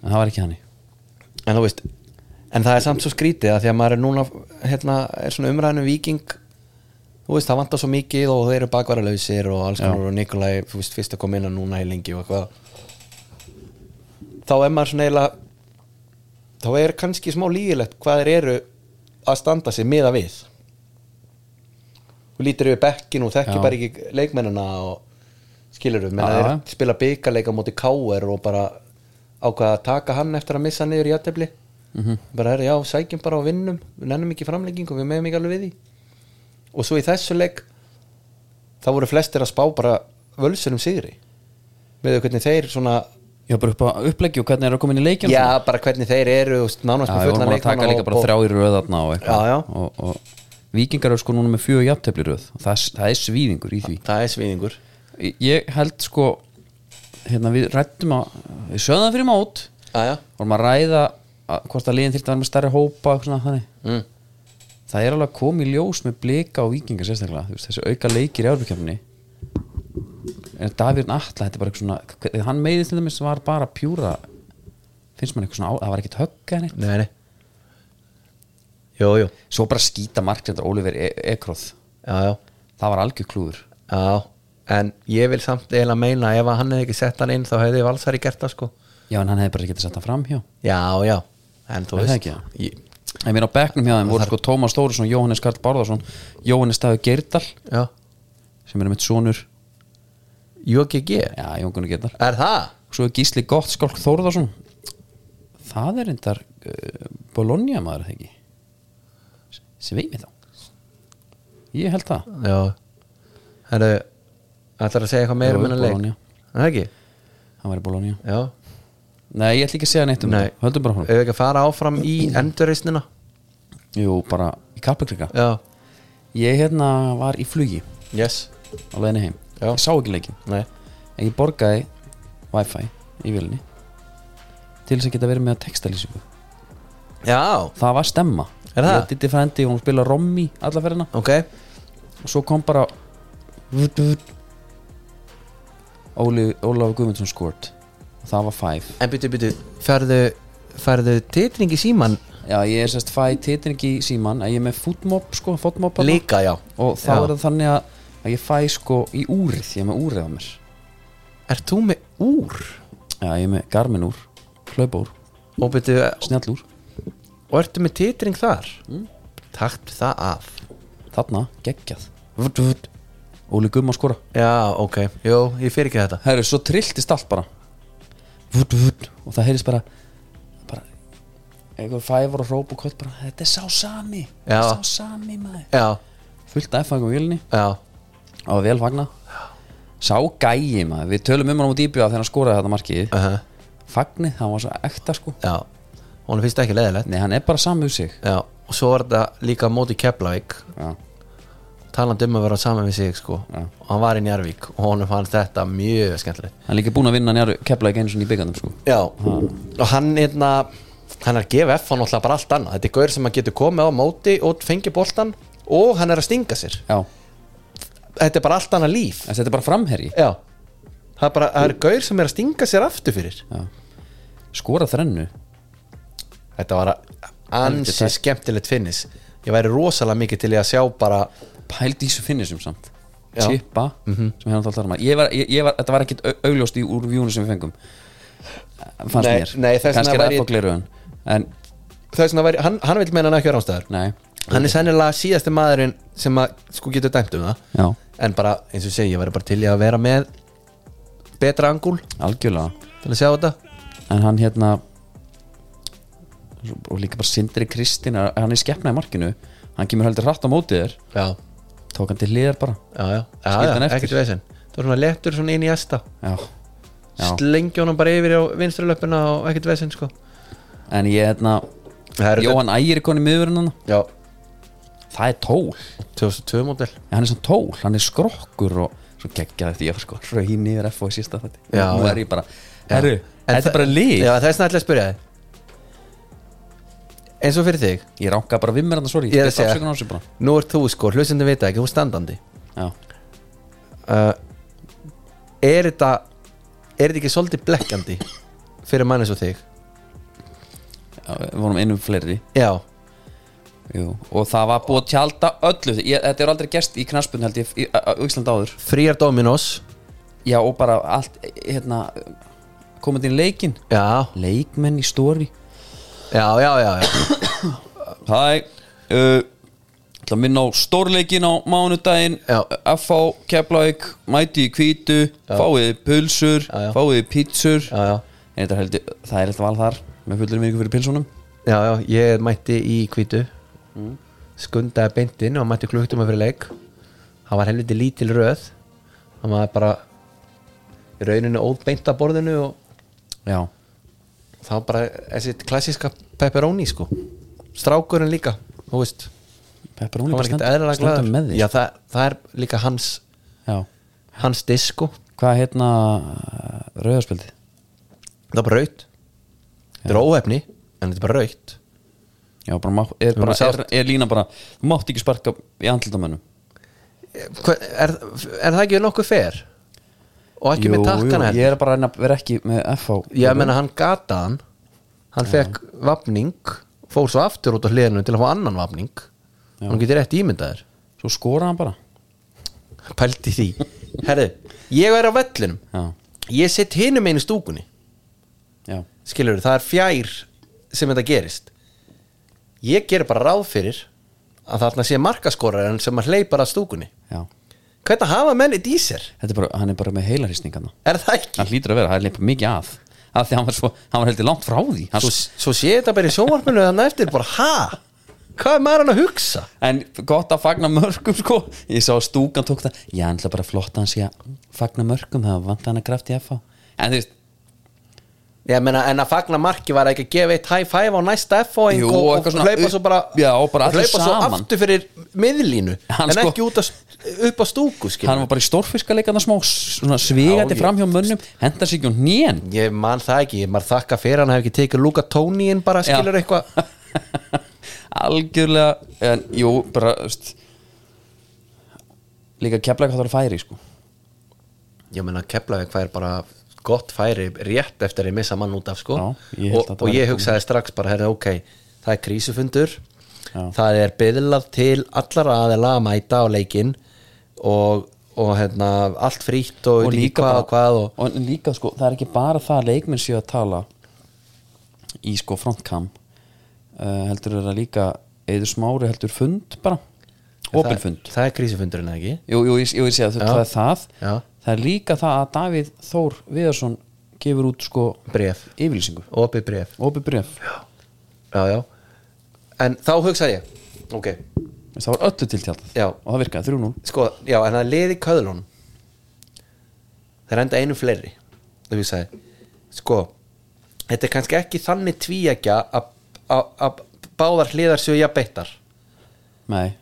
S1: En það var ekki hann
S2: en þú veist en það er samt svo skrítið að því að maður er núna hérna, er svona umræðinu viking þú veist, það vantar svo mikið og þeir eru bakvaralausir og alls konar og Nikolai þú veist, fyrst að koma inn að núna í lengi og eitthvað þá er maður svona eiginlega þá er kannski smá lígilegt hvað þeir eru að standa sig miða við þú lítir yfir bekkinu og
S1: Já.
S2: þekkir bara ekki leikmennina og skilur við, menn
S1: Já,
S2: að
S1: já.
S2: þeir spila byggarleika móti K.R. og bara ákvaða að taka hann eftir að missa hann niður í aðtefli
S1: Mhm.
S2: bara er, já, sækjum bara á vinnum við nennum ekki framlengingu, við meðum ekki alveg við því og svo í þessu leik þá voru flestir að spá bara völsunum sigri með hvernig þeir svona
S1: Já, bara upp á uppleggi og hvernig er að koma inn í leikinn
S2: já, bara hvernig þeir eru þú veist, nánast
S1: já
S2: með
S1: við vorum
S2: fullan
S1: bara að taka
S2: leikmann
S1: líka bara
S2: og-
S1: þrjá í röðarna og eitthvað
S2: Já, já.
S1: Og, og Víkingar eru sko núna með fjögur jafntefli í röð og það, er- það er svíðingur í því
S2: það er sviðingur
S1: Ég held sko Hérna, við rættum að Við sögðum það fyrir mót
S2: já, já,
S1: vorum að ræða að, hvort að liðin þyrfti að vera með stærri hópa og svona, þannig.
S2: mm.
S1: það er alveg komið í ljós með blika og vikingar sérstaklega þú veist, þessi auka leikir í árbyrkjafni en Davíðurinn Atla þetta er bara eitthvað svona, hve- hann meiðið til dæmis var bara pjúra finnst mann eitthvað svona, á- það var ekkert högg eða neitt
S2: nei, nei jú, jú,
S1: svo bara skýta marksendur Ólífer E- Ekroð
S2: já, já
S1: það var algjör klúður
S2: Já, en ég vil samt eiginlega meina ef að hann hefði ekki sett hann inn þá hefði Valsari gert það sko
S1: já en hann hefði bara getið sett það fram hjá
S2: Já, já, en þú
S1: Er það
S2: veist
S1: ekki?
S2: Ég-
S1: en við erum á bekknum hjá þeim voru sko Tómas Stórisson, Jóhannes Karl Bárðarsson Jóhannes Stafi Geirdal
S2: Já,
S1: sem er mitt sonur,
S2: JGG
S1: já Jón Gunnar Geirdal
S2: Er það?
S1: Svo er Gísli gott skálk Þórðarsson Það er endar uh, Bologna maður er það ekki Sveimi þá Ég held það
S2: Já Herru, ætlar að segja eitthvað meira
S1: Jú,
S2: um hennar leik?
S1: Bologna.
S2: Er Það ekki?
S1: Hann væri Bologna
S2: Já
S1: Nei, ég ætla ekki að segja neitt um
S2: Nei.
S1: það Höldum bara
S2: Ef
S1: honum
S2: við ekki að fara áfram í endurreisnina
S1: Jú, bara í Karpekrika
S2: Já,
S1: Ég hérna var í flugi
S2: yes
S1: á leiðinni heim
S2: Já.
S1: Ég sá ekki leikin
S2: Nei
S1: En ég borgaði Wi-Fi í vilni Til þess að geta verið með textalýsingu
S2: Já,
S1: Það var stemma
S2: Er það?
S1: Ég var Diddi frændi og hún spila Rommi alla ferðina
S2: ok
S1: og svo kom bara vut, vut. Óli, Ólaf Guðmundsson skort og það var 5
S2: En byttu, byttu, færðu, færðu titring í síman
S1: já ég er sérst fæ titring í síman að ég er með footmob sko footmob þarna.
S2: líka, já
S1: og þá
S2: Já.
S1: er það þannig að, að ég fæ sko í úrið ég er með úrið á mér
S2: Ert þú með úr?
S1: já ég er með garmin úr, hlaupúr,
S2: Og byttu,
S1: snjallúr
S2: Og ertu með titring þar? Mm. Taktu það af
S1: þarna geggjað vut, vut. Óli Guðmundsson skora
S2: Já, ok, jú, ég fyrir ekki þetta
S1: herru svo trilltist allt bara vut, vut. og það heyrðist bara bara eitthvað fævar og hróp og kött bara þetta er sá sami,
S2: Já.
S1: sá sami maður
S2: Já,
S1: fullt af fangum vilni
S2: já,
S1: á að vel fagna sá gæi maður, við tölum um hann á dýbja þegar hann skoraði þetta markið
S2: uh -huh.
S1: fagnið, hann var svo ekta sko
S2: já Hún finnst ekki leðilegt
S1: nei, hann er bara samið sig
S2: Já, og svo var þetta líka á móti Keflavík
S1: já,
S2: Talandi um að vera saman við sig, sko
S1: Já.
S2: Og hann var í Njarvík og honum fannst þetta mjög skemmtilegt
S1: hann er líka búin að vinna njár kepla ekki einu svona í byggandum sko
S2: Já, og hann, hérna Hann er GVF, hann alltaf bara allt annað Þetta er gaur sem hann getur komið á móti og fengi boltan Og hann er að stinga sér
S1: já,
S2: Þetta er bara allt annað líf
S1: þessi þetta er bara framherji
S2: Já, það er bara, það er gaur sem er að stinga sér aftur fyrir
S1: já. skora þrennu
S2: Þetta var
S1: Helviti
S2: ansi
S1: tætt.
S2: skemmtilegt finnis Ég væri rosalega mikið til ég að sjá bara
S1: pælt í þessu finnisum samt
S2: Já. Mhm.
S1: Chippa, sem hérna alltaf maður ég var, ég, ég var, þetta var ekkit au- augljóst í úr vjúnu sem við fengum fannst
S2: Nei,
S1: mér,
S2: nei, þess
S1: kannski
S2: vegna
S1: er
S2: var
S1: það
S2: ég-
S1: fók gleruðun en,
S2: Þess vegna væri, hann, hann vil meina hann ekki vera ástæður
S1: nei,
S2: Hann er sennilega síðasti maðurinn sem að sko getur dæmt um það
S1: já
S2: En bara, eins og ég segi, ég væri bara til ég að vera með betra angúl
S1: algjörlega
S2: til að sjá þetta
S1: en hann hérna og líka bara Sindri Kristinn hann er skepna í markinu, hann kemur heldur hratt á mótið þér,
S2: já,
S1: tók hann til hliðar bara
S2: já, já, já,
S1: Skildi hann
S2: já
S1: eftir?
S2: ekkert veginn það var svona lettur svona inn í esta
S1: já, já.
S2: slengi honum bara yfir á vinstri löpuna og ekkert veginn sko
S1: en ég hérna
S2: Það eru-
S1: Jóhann Ægir er konið miðurinn hann
S2: já,
S1: það er tól,
S2: 2002 mótel
S1: en hann er svona tól hann er skrokkur og svo geggjaði því að sko rauði niður F og sísta þetta
S2: Já,
S1: nú
S2: já.
S1: er ég bara, herru,
S2: En
S1: þetta
S2: það-
S1: er bara lík
S2: já, þess að ætla að spyrja þig eins og fyrir þig
S1: ég ránka bara vimmir hann, sorry,
S2: Ég er að
S1: biðst
S2: segja.
S1: afsökunar á þessu bara.
S2: nú ert þú sko, hlustundum vita ekki, þú ert standandi
S1: Já.
S2: uh, er þetta er þetta ekki svolítið blekkjandi fyrir mann eins og þig
S1: Já, við vorum einum fleiri
S2: já,
S1: Jú. og það var búið að tjálta öllu ég, þetta er aldrei gerst í knaspun held ég í á Ísland áður
S2: fríar Dominos
S1: já og bara allt hérna, komandi inn leikinn
S2: já,
S1: leikmenn í stóri
S2: já, já, já, já.
S1: hæ uh, ætla að minna á stórleikin á mánudaginn
S2: Já.
S1: FH, Keflavík, mæti í kvítu fáið pulsur,
S2: Já, já.
S1: fáið pítsur
S2: Já, já.
S1: En þetta er held ég- það er eitthvað val þar með fullur mjög fyrir pilsunum
S2: já, já, ég mætti í kvítu
S1: Mm.
S2: skundaði beintinn og mætti klukkutum fyrir leik það var helviti lítil röð það var bara í rauninu óð beint að borðinu og
S1: já,
S2: það var bara þessi klassíska pepperoni sko strákurinn líka, þú veist
S1: pepperoni
S2: hann var
S1: bara
S2: ekkert
S1: standa-
S2: eðlilega
S1: standa með
S2: glaður
S1: því
S2: já, það, það er líka hans
S1: já.
S2: hans disko,
S1: hvað er hérna rauðarspildið
S2: það er bara raut þetta er óhefni, en þetta er bara raut
S1: Já, bara, má- er, bara,
S2: sátt.
S1: er, er lína bara þú mátt ekki sparka í andlutamönnum
S2: Hva, er, er það ekki nokkuð fer? og ekki með takkana
S1: Ég er bara að reyna að vera ekki með FH
S2: ég meina hann gata hann hann fekk vapning fór svo aftur út á hliðinu til að fá annan vapning
S1: Já.
S2: hann getur rétt ímyndaðir
S1: Svo skora hann bara
S2: pælti því herri, ég er á vellinum
S1: Já,
S2: ég sitt hinum einu stúkunni
S1: já,
S2: skilur það er fjær sem þetta gerist ég ger bara ráð fyrir að þarna sé markaskorarinn sem að hleypar að stúkunni
S1: já
S2: hvernig hafa menni dísir
S1: Þetta er bara, hann er bara með heilarýsningana
S2: er það ekki?
S1: Hann hlýtur að vera, hann leipur mikið að af því hann var, svo, hann var heldur langt frá því hann,
S2: svo, svo sé þetta bara í sjónvarpinu þannig eftir bara ha? hvað er maður hann að hugsa?
S1: En gott að fagna mörgum sko Ég sá að stúkan tók það Ég ætla bara flott að hann sé að fagna mörgum Það vant hann að kraft í FH En þú veist,
S2: Ég meina, en að fagna marki var ekki að gefa eitt high five á næsta F-fóing
S1: Jú,
S2: og, og,
S1: eitthvað svona
S2: hlaupa
S1: upp-
S2: svo bara,
S1: Já, og bara allir
S2: hlaupa svo
S1: saman.
S2: aftur fyrir miðlínu
S1: Hann
S2: en
S1: sko-
S2: ekki út að, upp á stúku skilur.
S1: hann var bara í stórfiskaleikana smá Svona svigandi
S2: ég-
S1: fram hjá mönnum Henda sig ekki hún nén
S2: ég man það ekki, ég maður þakka fyrir hann hef ekki tekið Luka Tóníin bara
S1: Já.
S2: skilur eitthvað
S1: algjörlega en jú, bara veist, líka kefla hvað það er færi sko.
S2: ég meina Keflavík fær bara gott færi rétt eftir að ég missa mann út af sko.
S1: Já, ég held að
S2: og,
S1: þetta
S2: og
S1: væri
S2: ég
S1: komið.
S2: hugsaði strax bara herri, ok, það er krísufundur
S1: Já.
S2: það er byðlað til allar aðila að mæta á leikinn og, og hérna, allt frítt og,
S1: og
S2: og
S1: líka,
S2: hvað
S1: bara,
S2: og hvað og,
S1: og líka sko, það er ekki bara það að leikminn séu að tala í sko frontkam uh, heldur er það líka eður smári heldur fund bara opin
S2: það,
S1: fund
S2: það er krísufundurinn eða ekki
S1: jú, jú, ég, jú, ég sé að það er það
S2: Já.
S1: það er líka það að Davíð Þór Viðarsson gefur út sko
S2: bref,
S1: yfirlýsingu,
S2: opið bref
S1: opið bref
S2: já, já. en þá hugsaði ég ok,
S1: það var öllu til tjáltað
S2: Já.
S1: og það virkaði 3-0
S2: sko, já, en það liði köðlun það er enda einu fleiri þú sagði, sko þetta er kannski ekki þannig tvíækja að- að að báðar hliðar séu jafn beittar
S1: nei,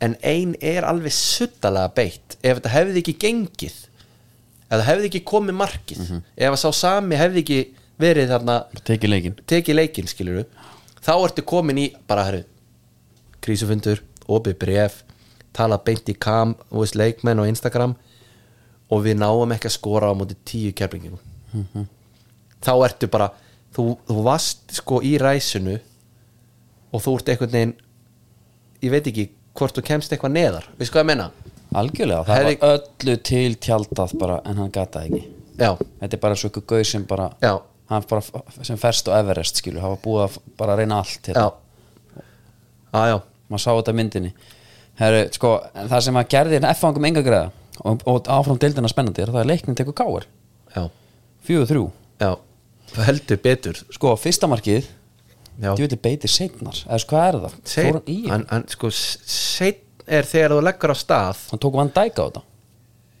S2: en ein er alveg suttalega beitt ef þetta hefði ekki gengið ef það hefði ekki komið markið ef að sá sami hefði ekki verið þarna
S1: tekið leikin
S2: tekið leikinn skilur þá ertu komin í bara herru krísufundur, opið bref tala beint í kam, þú veist, leikmenn og Instagram og við náum ekki að skora á móti tíu keflingum þá ertu bara þú, þú vast sko í ræsinu og þú ert einhvern veginn ég veit ekki hvort þú kemst eitthvað neðar, veist hvað ég menna
S1: Algjörlega, það
S2: Hefði-
S1: var öllu til tjaldað bara en hann gataði ekki
S2: já,
S1: Þetta er bara svo ykkur gauð sem bara,
S2: Já.
S1: hann bara f- sem ferst á Everest skilur, hafa búið að f- bara reyna allt
S2: já
S1: hérna.
S2: já, já,
S1: maður sá þetta í myndinni Heru, sko, en það sem að gerði en F-fangum enga greiða og, og áfram deildina spennandi er það að leiknin tekur káir,
S2: já,
S1: 4-3
S2: já. heldur betur
S1: Sko, fyrsta markið
S2: Já.
S1: Þú veitir beitir seinnar Eða sko, hvað er það? Fór
S2: Seinn
S1: hann í hann,
S2: hann- hann- sko, Seinn er þegar þú leggur á stað
S1: hann tók vann dæka á þetta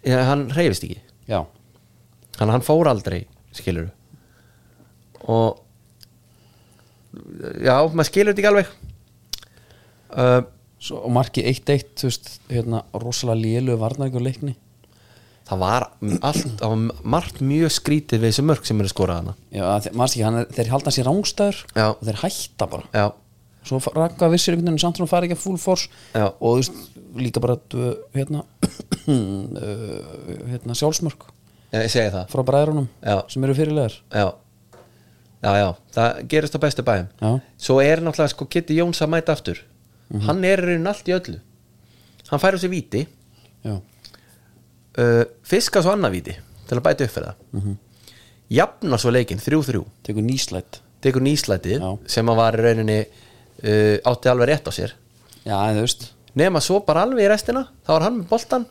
S2: ja, hann reyfist ekki
S1: Já,
S2: hann, hann fór aldrei, skilur og já, maður skilur þetta ekki alveg uh,
S1: Svo, og markið 1-1 Þú veist, hérna, rosalega lélu Varnaríkur leikni
S2: það var allt, það var margt mjög skrítið við þessu mörg sem eru skorað hana
S1: Já, að þe- maður sé ekki, hann er, þeir halda sér rángstæður
S2: Já.
S1: Og þeir hætta bara
S2: já,
S1: Svo fa- rakka vissir einhvern veginn Samt hún fari ekki að full force
S2: Já.
S1: Og þú veist, líka bara dvö, Hérna uh, Hérna, sjálfsmörk
S2: ég segi það
S1: Frá bræðrunum
S2: Já.
S1: Sem eru fyrirlegar
S2: já, já, já, það gerist á bestu bæðum
S1: Já,
S2: svo er náttúrulega sko Kitty Jóns að mæta aftur hann er í raunin allt í öllu hann fær á sig víti
S1: já,
S2: uh, fiska svo annað víti til að bæta upp fyrir það jafnar svo leikinn 3-3
S1: tekur nýslætt
S2: tekur nýslætið
S1: Já.
S2: sem að var í rauninni uh, átti alveg rétt á sér
S1: Já, en þú veist
S2: nema svo bara alveg í restina þá er hann með boltan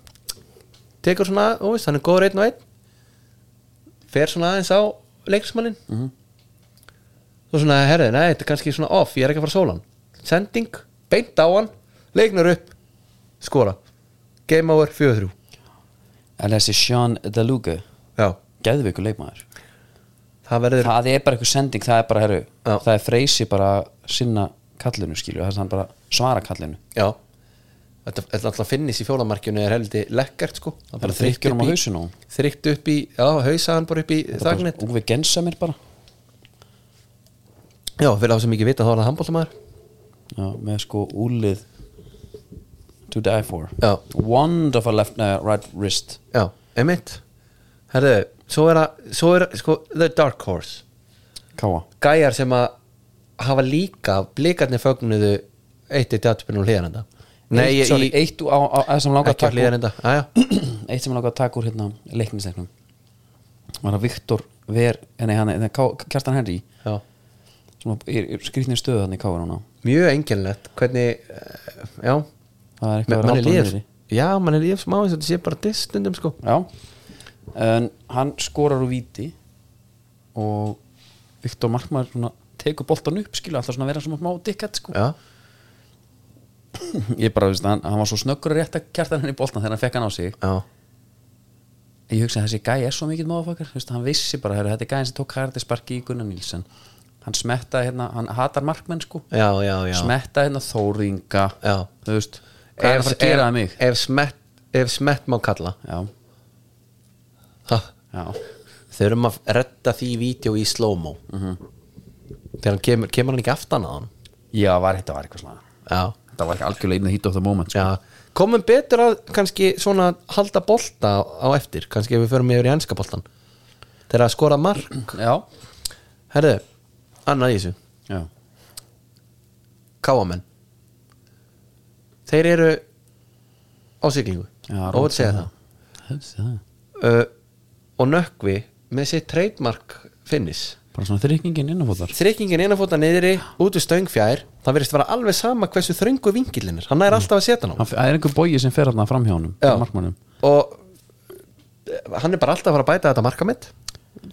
S2: tekur svona, þú veist, hann er góður einn og einn fer svona aðeins á leiksmannin mm -hmm. og svona, herði, nei, þetta er kannski svona off ég er ekki að fara sólan, sending beint á hann, leiknar upp skora, game over 4-3
S1: En þessi Sean DeLuca
S2: já,
S1: Geðvíku leikmaður
S2: það verður
S1: Það er bara eitthvað sending, það er bara herru
S2: Já.
S1: Það er freysi bara sinna kallinu skilju Það er hann bara svara kallinu
S2: já, þetta þetta er alltaf finnis í fjólamarkjunu er heldur lekkert sko það
S1: Það er þrykkjunum á
S2: upp í-
S1: hausinu á honum.
S2: þrykkt upp í, já, hausa hann bara upp í
S1: Þetta er
S2: þagnet
S1: bara Úfi gensa mér bara
S2: já, fyrir það sem ekki vita þá er það handbóltamæður
S1: Já, með sko úlið To die for
S2: Já.
S1: Wonderful left, uh, right wrist
S2: Já, einmitt Herðu, svo er að, svo er sko The Dark Horse
S1: Káa
S2: Gæjar sem að hafa líka blikarnir fögnuðu eitt eitt aðtöpunum hlýðanenda Nei,
S1: eitt,
S2: ég,
S1: sorry,
S2: ég,
S1: eitt á, á, á, sem langar að
S2: ekki
S1: taka úr-
S2: hlýðanenda Æja,
S1: eitt sem ég langaði að taka úr hérna leiknisteknum var að Viktor Ver, nei, hann, nei, Ká- Kjartan Henry
S2: já
S1: sem var- er, er skrýtnir stöðu hann í káður núna
S2: Mjög engilnett, hvernig, eh, já
S1: það er
S2: Me-
S1: eitthvað að
S2: manni
S1: ráta hann
S2: líður,
S1: niður í.
S2: já, mann er líður smá eins og þetta sé bara distundum sko
S1: já en hann skorar úr víti og Viktor Markmaður svona tekur boltan upp skilu alltaf svona að vera svona má dikkett sko
S2: Já,
S1: ég bara veist hann, hann var svo snöggur að rétta kjartan henni í boltan þegar hann fekk hann á sig
S2: já,
S1: En ég hugsa að þessi gæi er svo mikill móðafakar hann vissi bara, heru, þetta er gæin sem tók hægði sparki í Gunnar Nílsen hann smettaði hérna, hann hatar markmenn sko
S2: já, já, já
S1: smetta hérna þóringa
S2: Já.
S1: þú veist, hvað er að fara að gera það mig
S2: Ef smett, ef smett má kalla
S1: já,
S2: Ha,
S1: já,
S2: þurfum að redda því vídeo í slow-mo þegar hann kemur, kemur hann ekki aftan að hann
S1: já var, þetta var eitthvað svona
S2: já,
S1: þetta var ekki algjörlega einu hýtt of the moment sko.
S2: já komum betur að kannski svona halda bolta á eftir, kannski ef við förum yfir í ennska boltan þegar að skora mark
S1: já,
S2: herðu, annað í þessu
S1: já,
S2: káamenn þeir eru á siglingu
S1: Já,
S2: og við segja það,
S1: Hefst, það.
S2: Uh, og nökkvi með sitt trademark finnis
S1: bara svona þrykkingin innanfóðar
S2: þreykingin innanfóta niðri út við stöngfjær það verðist vera alveg sama hversu þröngu vingillin er hann er alltaf að setja hann á
S1: það er einhver bogi sem fer hann fram hjá honum
S2: Já.
S1: markmannum
S2: og eh, hann er bara alltaf að fara að bæta þetta markamitt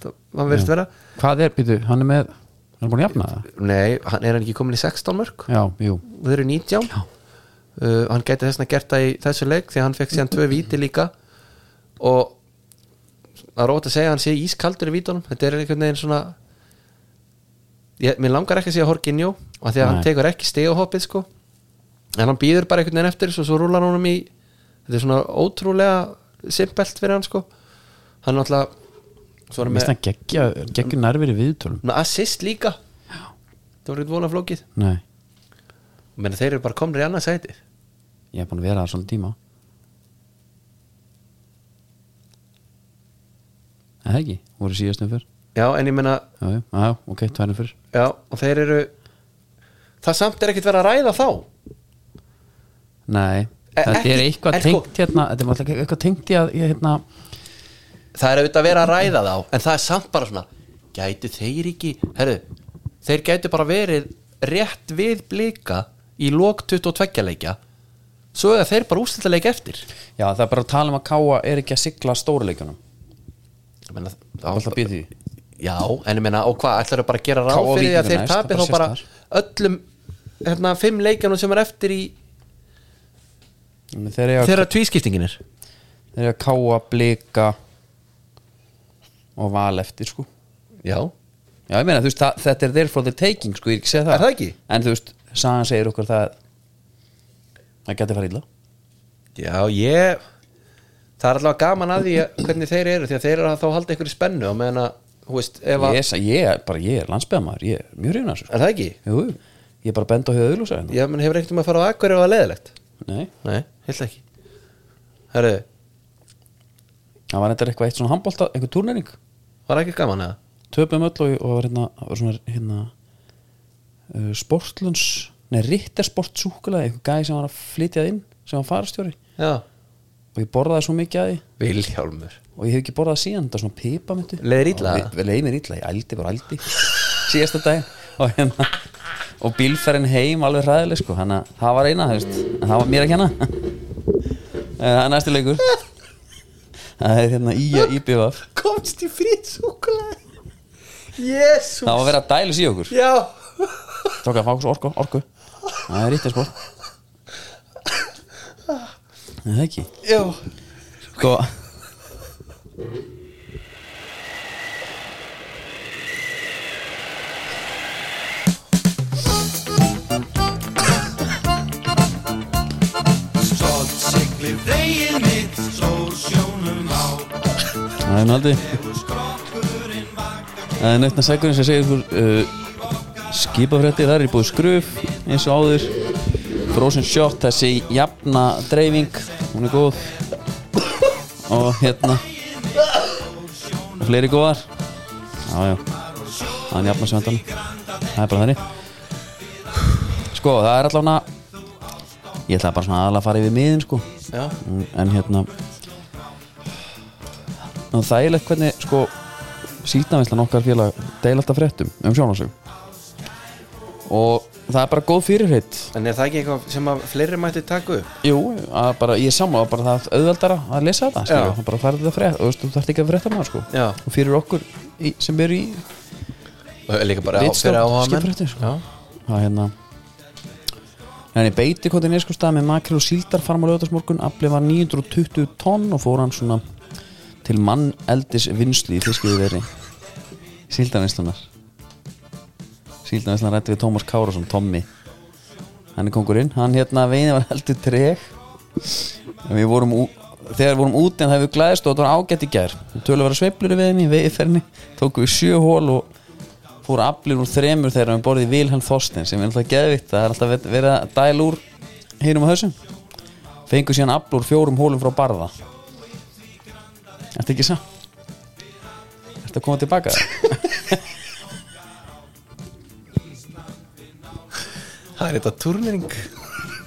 S2: það verðist vera
S1: hvað er, býtu, hann er með hann er búin að jafna það
S2: nei, hann er hann ekki komin í 16 mörg
S1: já, jú,
S2: og þeir eru 19 uh, hann gæti þessna gert það í þessu leik því að hann fekk síðan tvö víti líka og það er rót að segja að hann sé ískaldur í vítunum þetta er einhvern veginn svona ég, mér langar ekki að segja Horkinjó og því að hann
S1: Nei.
S2: tekur ekki stegahoppið sko en hann býður bara einhvern veginn eftir svo, svo rúlar hann um í þetta er svona ótrúlega simpelt fyrir hann sko hann náttúrulega svo er hann
S1: mist
S2: með
S1: hann geggja geggja nærveri viðtölum
S2: svona assist líka það var ekkert vona flókið
S1: nei,
S2: menn þeir eru bara komnir í annað sæti
S1: ég er búin að vera það svolítið tíma Það er ekki, voru síðastum fyrr
S2: já en ég meina
S1: Já, já, já, ok, um tværinn fyrir
S2: Já, og þeir eru Það samt er ekkert verið að ræða þá
S1: Nei,
S2: E-
S1: þetta er
S2: ekki-
S1: eitthvað
S2: en sko-
S1: tengt hérna Þetta er alltaf eitthvað tengt í að í að, hérna,
S2: Það er auðvitað að vera að ræða þá En það er samt bara svona Gætu þeir ekki Herru, þeir gætu bara verið rétt við blika Í lok 22 leikja Svo eða þeir bara úrstæta leik eftir
S1: Já, það er bara að tala um að Káa er ekki að sigla stóruleikunum
S2: Ég meina,
S1: Það er alltaf býð því
S2: Já, en ég meina, og hvað, ætlarðu bara að gera ráð
S1: K.O.
S2: fyrir því að
S1: Víkingur
S2: þeir
S1: næst,
S2: tapi
S1: það
S2: þá
S1: bara
S2: bara
S1: sést
S2: öllum hérna, fimm leikjanum sem er eftir í
S1: Þannig Þeir eiga
S2: þeirra tvískiptingin er
S1: þeir eiga káa, blika og val eftir sko
S2: Já,
S1: Já, ég meina, þú veist, það, þetta er there for the taking sko, ég er ekki að segja það
S2: Er það ekki?
S1: En þú veist, sagan segir okkur það það geti farið illa
S2: já, ég það er allavega gaman að því að hvernig þeir eru því að þeir eru að þá halda einhverju spennu og meðan að, hú veist, ef að
S1: Ég, er- ég, er- bara, ég er landsbyðamaður, ég er mjög hrifin að þessu sko.
S2: er það ekki?
S1: Jú, jú. ég er bara bend á höfuð auðlúsa hérna.
S2: Ég menn hefur ekkert um að fara á akkur ef það er leðilegt
S1: Nei,
S2: Nei, heilt ekki Herru,
S1: það var þetta eitthvað eitt svona handbólta, einhver turnering
S2: var ekki gaman að
S1: töpum öll og, og var hérna, var svona, hérna uh, sportlunds nei, rittersport súkulega einhver gæði sem var að flytja inn sem var farastjóri
S2: Já,
S1: og ég borðaði svo mikið að því
S2: Vilhjálmur
S1: og ég hef ekki borðað síðan, þetta er svona pipa myndu
S2: Leið þér illa?
S1: Leði mér illa, ég ældi bara ældi síðasta dag og, hérna, og bílferðin heim alveg hræðileg sko, þannig að það var eina þú veist, en það var mér ekki hana það er næsti leikur það er hérna í að íbjöfa
S2: Komst í frið súkulega Jésu
S1: það var verið að dælis í okkur
S2: Já
S1: tók að fá okkur orku, orku það er rítið sport Nei, það er ekki
S2: Já
S1: sko
S4: Stolt siglir veginn mitt, sól sjónum á
S1: það er náldi
S4: Skrokkurinn vakar
S1: Það er nættan segurinn sem segir ykkur uh, skipafrétti, það er í búið skruf eins og áður Frozen Shot, þessi jafna dreifing, hún er góð og hérna og fleiri góðar já, já, það er jafna sem endan það er bara þannig sko, það er allavega ég ætla bara svona aðalega að fara yfir miðin sko
S2: Já
S1: en hérna og þægilegt hvernig sko síldavinslan okkar félag deil alltaf fréttum um sjónasög og það er bara góð fyrirheit
S2: En er það ekki eitthvað sem að fleiri mætti taka upp?
S1: jú, að bara, ég sammála bara það auðveldara að lesa þetta skilur,
S2: Já.
S1: það bara færði þetta frétt og veistu, þú þarft ekki að frétta maður sko
S2: Já.
S1: og fyrir okkur í, sem eru í
S2: Líka bara
S1: Ritstjórn, skipfréttir, sko. það er hérna Þannig beiti kvotin er sko stað með makril og síldar farm á lögðarsmorgun aflið var 920 tonn og fór hann svona til mann eldis vinslu í fiskiðu veri síldarvinslunar síldarvinslunar rætti við Tómas Kárasson, Tommy hann er kongurinn, hann hérna veiði var heldur treg En við vorum ú- þegar við vorum úti en það hefur glæðist og þetta var ágætt í gær tölur vera sveiflur í veiðinni, í veiðferðinni tókum við sjö hól og fór aflir úr þremur þegar við borðið Vilhelm Þorstein sem er alltaf geðvitt, það er alltaf ver- verið að dæla úr hinum og þessum fengu síðan afl úr fjórum hólum frá barða Ertu ekki sá? Ertu að koma tilbaka?
S2: Það er þetta turnering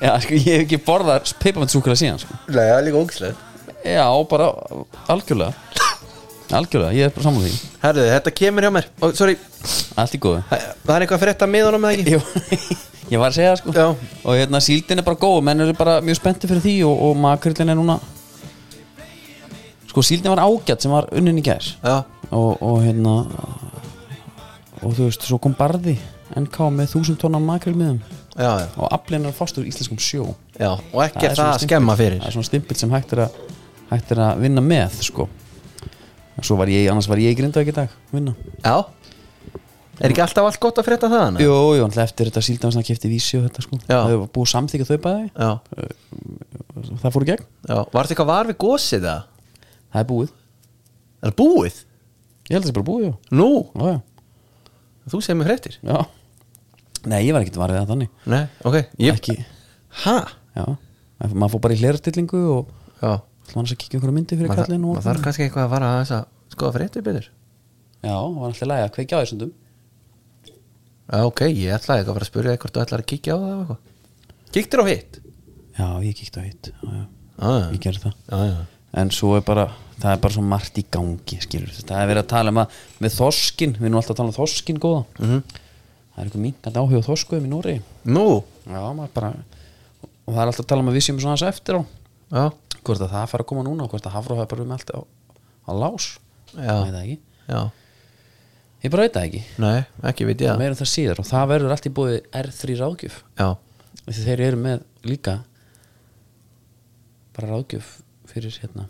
S1: Já, sko, ég hef ekki borðað peipamantsúkula síðan sko.
S2: Nei, það er líka ógislega
S1: Já, bara algjörlega Algjörlega, ég er bara saman því
S2: Herðu, þetta kemur hjá mér oh, Sorry,
S1: Allt í góðu
S2: Þa- það er eitthvað að frétta miðanum eða ekki?
S1: Jú, ég var að segja það sko
S2: Já.
S1: og hérna síldin er bara góð menn eru bara mjög spennti fyrir því og, og makrillin er núna sko síldin var ágætt sem var unnin í gær
S2: Já
S1: og, og hérna og þú veist, svo kom barði NK með 1000 tonna makrillmiðum
S2: Já, já,
S1: og aflinn er fastur í íslenskum sjó
S2: já, og ekki það,
S1: svona
S2: það að
S1: stimpill-
S2: skemma fyrir
S1: það er svona stimpill sem hægt er að hægt er að vinna með sko svo var ég, annars var ég grindað ekki í dag vinna
S2: Já Er ekki alltaf allt gott að frétta það hana?
S1: Jú, jú, náttúrulega eftir þetta síldansna kefti vísi og þetta sko
S2: Já.
S1: Það hefur búið að samþykja þau bæði
S2: Já,
S1: Það fór í gegn,
S2: já Var þetta eitthvað var við gósið það?
S1: það er búið
S2: Er það búið?
S1: Ég held að það sé bara búið, já,
S2: Nú,
S1: já, já.
S2: þú segir mér fréttir
S1: já. Nei, ég var ekkert varðið að þannig
S2: Nei, ok ég...
S1: Ekki,
S2: Ha?
S1: já En Maður fór bara í hlerastillingu og
S2: Já
S1: Það var annars að kíkja einhverja myndi fyrir
S2: Maður
S1: kallinn og
S2: maður þarf kannski eitthvað að vara að þess að skoða fréttir betur
S1: Já, það var alltaf lægi að kveikja á þessum
S2: Já, ok, ég ætlaði ekki að fara að spyrja eitthvað Þú ætlaði að kíkja á það eða eitthvað Kíktir á hitt?
S1: Já, ég kíkti á hitt, já, já,
S2: Já,
S1: ég gerði það
S2: já, já
S1: en svo er bara það er bara svo margt í gangi skilur það er verið að tala um að með þoskin við erum alltaf að tala um þoskin góða
S2: Mhm.
S1: -hmm. það er einhver minkandi áhuga á þoskuðum í Núri
S2: Nú,
S1: já maður bara og það er alltaf að tala um að við séum svona aðeins eftir á
S2: já,
S1: hvort að það fara að koma núna og hvort að Hafró hafa bara um allt á, á lás
S2: Já.
S1: Nei, það ekki
S2: já
S1: ég bara veit það ekki
S2: Nei, ekki veit ég
S1: ja.
S2: það
S1: meira um það síðar og það verður allt í búið R3 ráðgjöf
S2: Já,
S1: því þeir eru með líka bara ráðgjöf fyrir hérna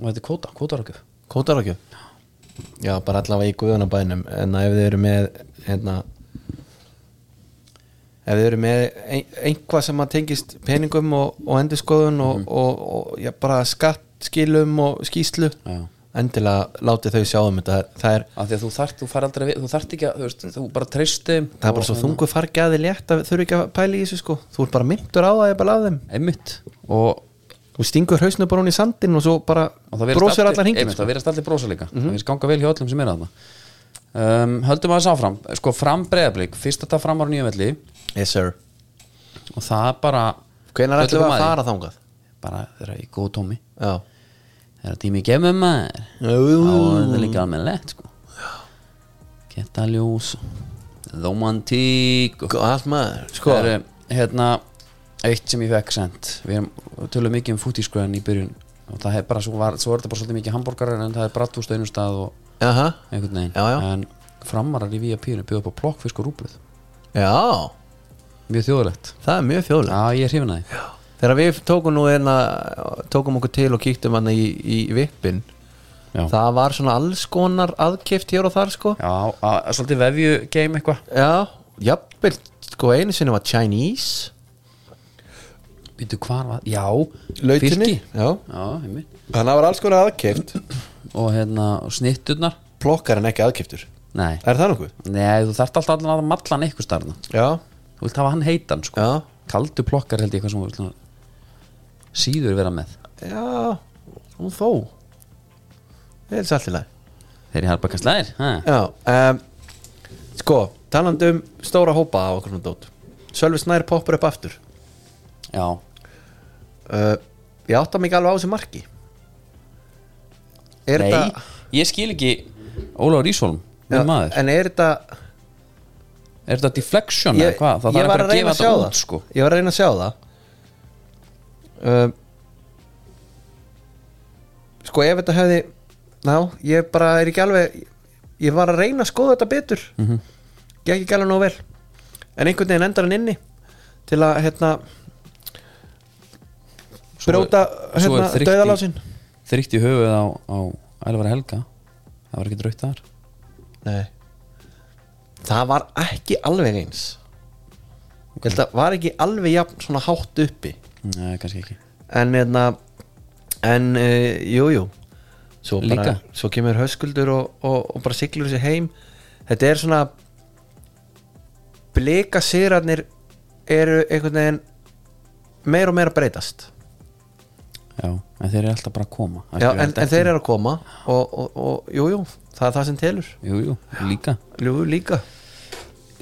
S1: og þetta er kvóta, kvótaráðgjöf
S2: kótarákjöf Já, bara allavega í guðunabænum en ef þið eru með hérna, ef þið eru með ein, einhvað sem að tengist peningum og, og endurskoðun og,
S1: Mhm.
S2: og, og, já, bara skattskilum og skýslu
S1: Já.
S2: endilega láti þau sjá um þetta það er,
S1: af því að þú þart, þú far aldrei við, þú þart ekki að, þú, veist, þú bara treysti
S2: það er bara svo
S1: hérna.
S2: þungu fargjaði létt að þau eru ekki að pæla í þessu sko þú er bara myndur á það eða bara af þeim
S1: einmitt og,
S2: þú stingur hausnu bara hún í sandin og svo bara
S1: og það virðist
S2: brósir
S1: allir-
S2: allar sko. Mhm. hingin
S1: einmitt, það verðast allir brosa líka það verðist ganga vel hjá öllum sem er að það um, höldum að það sáfram, sko fram breyðablík fyrst að það fram ára nýjum velli
S2: yes sir
S1: og það bara
S2: hvenær ætlum við
S1: koma
S2: að
S1: því?
S2: fara þangað
S1: bara þeirra í góð tómi
S2: já
S1: þeirra tími gemum maður þá er
S2: Mm.
S1: þetta líka alveg lett sko. geta ljós romantík og
S2: Sko, allt maður sko
S1: það er hérna eitt sem ég fekk sent við erum tölum mikið um fútískröðin í byrjun og það er bara svo, var, svo er þetta bara svolítið mikið hambúrgarar en það er brattúst á einum stað og
S2: Aha.
S1: einhvern veginn
S2: Já, já.
S1: en framarar í VIP-inu bjóða upp á plokkfisk og rúbluð
S2: já
S1: mjög þjóðulegt
S2: það er mjög fjóðlega
S1: já ég er hrifin að því
S2: þegar við tókum nú einna tókum okkur til og kíktum hann í, í vippin
S1: já, já
S2: það var svona alls konar aðkift hér og þar sko
S1: að, að, svolítið vefju game eitthvað
S2: já jafnvel sko einu sinni var Chinese
S1: býtu hvar var já
S2: lautinni
S1: fylki.
S2: já
S1: já einmitt
S2: þannig var alls konar aðkift
S1: og hérna og snitturnar
S2: plokkar en ekki aðkiftur
S1: nei
S2: er það nokkuð
S1: Nei, þú þarft alltaf allan að matla hann eitthvað starna
S2: já
S1: Þú vilt hafa hann heitan, sko
S2: já
S1: Kaldu plokkar held ég eitthvað sem þú vilt svona síður vera með
S2: já og þó það er svolítið læg
S1: Þeir eru bara kannski lægir ha?
S2: Já, um, sko, talandi um stóra hópa á okkur svona dót Sölvi Snær poppar upp aftur
S1: Já,
S2: uh, Ég átta mig ekki alveg á þessu marki Er
S1: nei
S2: þetta
S1: Ég skil ekki Ólafur Ísholm, minn maður
S2: En er þetta
S1: Er þetta deflection eða
S2: Ég,
S1: hvað? Það þarf
S2: ég var
S1: bara
S2: að reyna að sjá
S1: gefa
S2: það
S1: þetta út, sko
S2: Ég var að reyna að sjá það um, Sko, ef þetta hefði Ná, ég bara er ekki alveg Ég var að reyna að skoða þetta betur mm
S1: Mhm.
S2: -hmm. Ég ekki gæla nóg vel En einhvern veginn endar hann inni Til að, hérna,
S1: Svo-
S2: brjóta
S1: svo er
S2: hérna,
S1: þrykkt í-
S2: dauðalásinn
S1: Þrykkt í höfuð á, á Ælvar Helga Það var ekki draut þar
S2: Nei Það var ekki alveg eins Ég held að var ekki alveg jafn svona hátt uppi
S1: Nei, kannski ekki
S2: En hérna En uh, jú, jú Svo, bara,
S1: Líka.
S2: svo kemur höskuldur og, og, og bara siglur þessi heim Þetta er svona Blika sýrarnir Eru einhvern veginn Meir og meir að breytast
S1: Já, en þeir eru alltaf bara að koma Það
S2: Já,
S1: skilur
S2: en,
S1: þetta
S2: en
S1: ekki.
S2: þeir eru að koma og, og, og jú, jú, það er það sem telur
S1: Jú, jú, líka
S2: Jú, líka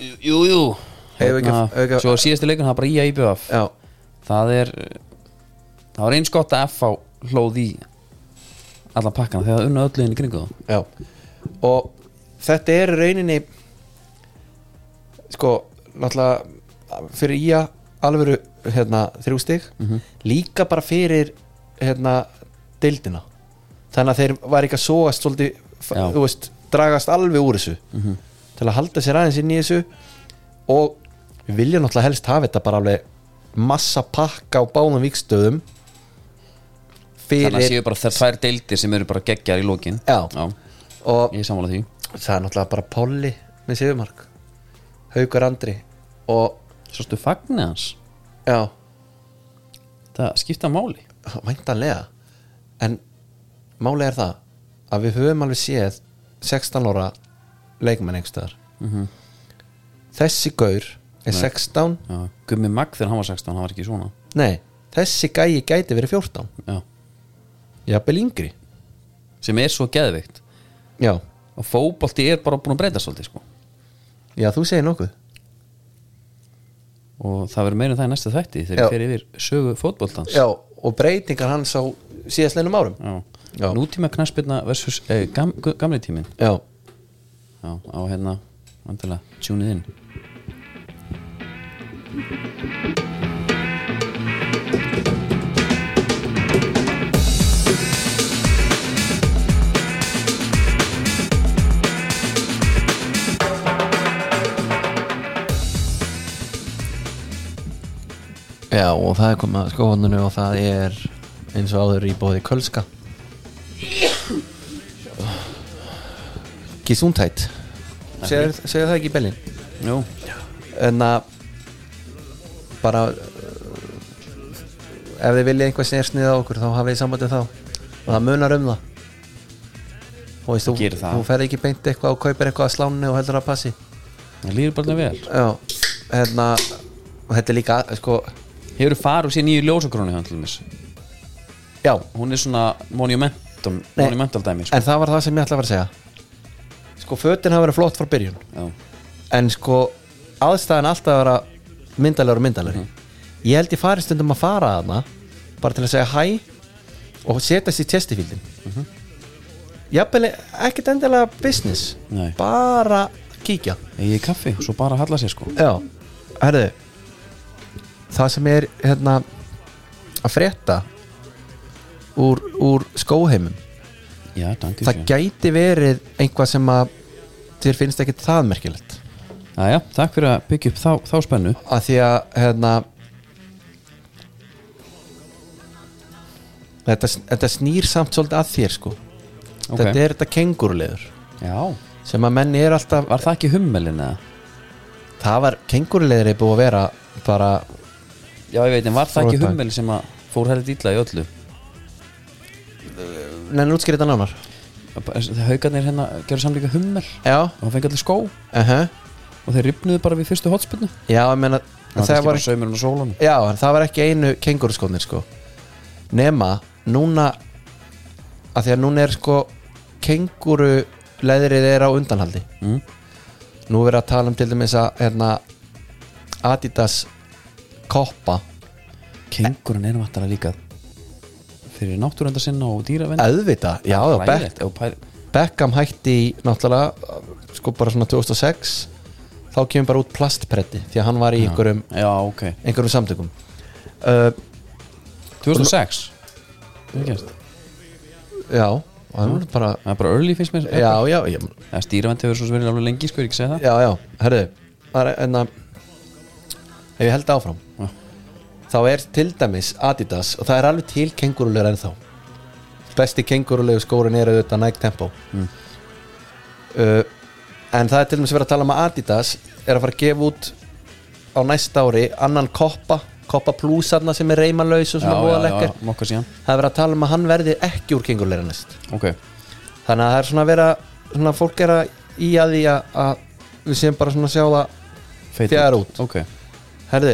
S1: Jú, jú
S2: Eigum við ekki-
S1: Hérna,
S2: eigum við ekki-
S1: Svo síðasti leikun, það er bara í að íbjöf
S2: Já,
S1: það er það var eins gott að FH hlóð í alla pakkana þegar það unna öllu inn í kringu þá
S2: Já Og þetta er í rauninni Sko, náttúrulega Fyrir í að alvöru hérna, Þrjú stig
S1: Mhm.
S2: Líka bara fyrir hérna, Deildina Þannig að þeir var ekki að sóast svolítið,
S1: Já. Mhm.
S2: Þú veist, dragast alveg úr þessu Til að halda sér aðeins inn í þessu Og við viljum náttúrulega helst hafa þetta bara alveg Massa pakka á báðum vikstöðum
S1: þannig að
S2: Fyrir
S1: séu bara þær tvær deildir sem eru bara geggjar í lókin
S2: Já. og,
S1: ég er sammála því
S2: það er náttúrulega bara Polly með Sigurmark Haukur Andri og
S1: Sástu fagnir hans,
S2: já,
S1: það skipta máli
S2: væntanlega en málið er það að við höfum alveg séð 16 ára leikmenn einhverstaðar mm þessi gaur er 16
S1: Já. Gummi Magg þegar hann var 16, hann var ekki svona
S2: nei, þessi gæi gæti verið 14
S1: Já.
S2: jafnvel yngri
S1: sem er svo geðveikt
S2: já,
S1: og fótbolti er bara búin að breyta svolítið sko.
S2: já þú segir nokkuð
S1: og það verður meira en það í næsta þætti þegar
S2: Já.
S1: ég fer yfir sögu fótboltans
S2: já, og breytingar hans á síðastleginum árum
S1: Já.
S2: Já.
S1: nútíma knassbyrna versus eh, gam, gu- gamli tíminn
S2: já,
S1: Já, á hérna, vandilega, tjúnið inn
S2: Já, og það er komið að skóðanunu og það er eins og áður í bóði Kölska Gesundheit Segir segir það ekki í Berlín
S1: Jú,
S2: En að bara uh, ef þið viljið einhvað snersnið á okkur þá hafið þið sambandið þá og það munar um það Þú veist, þú,
S1: Gerir það.
S2: þú ferð ekki beint eitthvað og kaupir eitthvað að slánu og heldur að passi
S1: það líður bara vel
S2: Já, hérna og þetta er líka, sko
S1: Hefur farið og sé nýju ljósakrónu hann til mér
S2: Já,
S1: Hún er svona monumentum,
S2: Nei.
S1: monumental dæmi sko.
S2: En það var það sem ég ætla að vera að segja Sko, fötin hafa verið flott frá byrjun
S1: Já,
S2: En sko, aðstæðan alltaf að vera myndalegur og myndalegur Ég held ég fari stundum að fara þarna Bara til að segja hæ Og setast í testifíldin mm Jafnvel, ekkert endilega business
S1: Nei.
S2: Bara kíkja
S1: ég er kaffi, svo bara að halla sér sko
S2: Já, herðu Það sem er hérna að frétta úr, úr skóheimum
S1: Já, danki
S2: það gæti verið einvað sem að þér finnst ekkit það merkilegt
S1: Jæja, takk fyrir að byggja upp þá, þá spennu
S2: að því að hérna, þetta, þetta snýr samt svolítið að þér sko
S1: Ok.
S2: þetta er þetta kenguruleður
S1: Já,
S2: sem að menni er alltaf
S1: var það ekki hummelin eða?
S2: það var kenguruleður er búið að vera bara,
S1: Já, ég veit, en var það
S2: Fór
S1: ekki
S2: þetta.
S1: hummelin sem að fór helið dýla í öllu?
S2: neina útskýrði þetta nánar
S1: Haukarnir hérna gerðu samlíka hummel
S2: já,
S1: og það fengi allir skó
S2: uh
S1: og þeir ripnuðu bara við fyrstu hotspilnu
S2: já, ég meina
S1: Það var
S2: það var,
S1: ekki bara saumurinn og sólan
S2: já, en það var ekki einu kenguruskóðnir sko nema núna að því að núna er sko kenguru leðrið er á undanhaldi
S1: Mm.
S2: nú er verið að tala um til dæmis að hérna, Adidas koppa
S1: Kengurinn er náttúrulega líka fyrir náttúrunda sinna og dýravenn
S2: auðvita, já, já Beck,
S1: og pæl
S2: Beckham hætti í náttúrulega sko bara svona 2006 þá kemur bara út plastpretti því að hann var í einhverjum,
S1: Já, ok
S2: einhverjum samtökum uh,
S1: 2006 Það er gerst.
S2: já, og það var bara
S1: Það er bara early finnst mér
S2: já, já, já,
S1: Það stýravend hefur svo sem verið alveg lengi, sko, ég ekki segja það
S2: já, já herðu, það er enna ef ég held áfram
S1: Já.
S2: þá er til dæmis Adidas og það er alveg til kengurulegur ennþá besti kengurulegu skórin er auðvitað Nike Tempo
S1: Mm.
S2: uh, en það er til dæmis verið að tala um að Adidas er að fara að gefa út á næsta ári annan koppa koppa plusarna sem er reymalaus og
S1: já,
S2: svona
S1: já, já,
S2: voðalekkar
S1: mokka síðan
S2: það er verið að tala um að hann verði ekki úr kengurulegur næst
S1: Ok,
S2: þannig að það er svona að vera svona fólk er að í að því að, að við séum bara svona að sjá það
S1: feit
S2: Fjær út.
S1: Ok,
S2: herðu,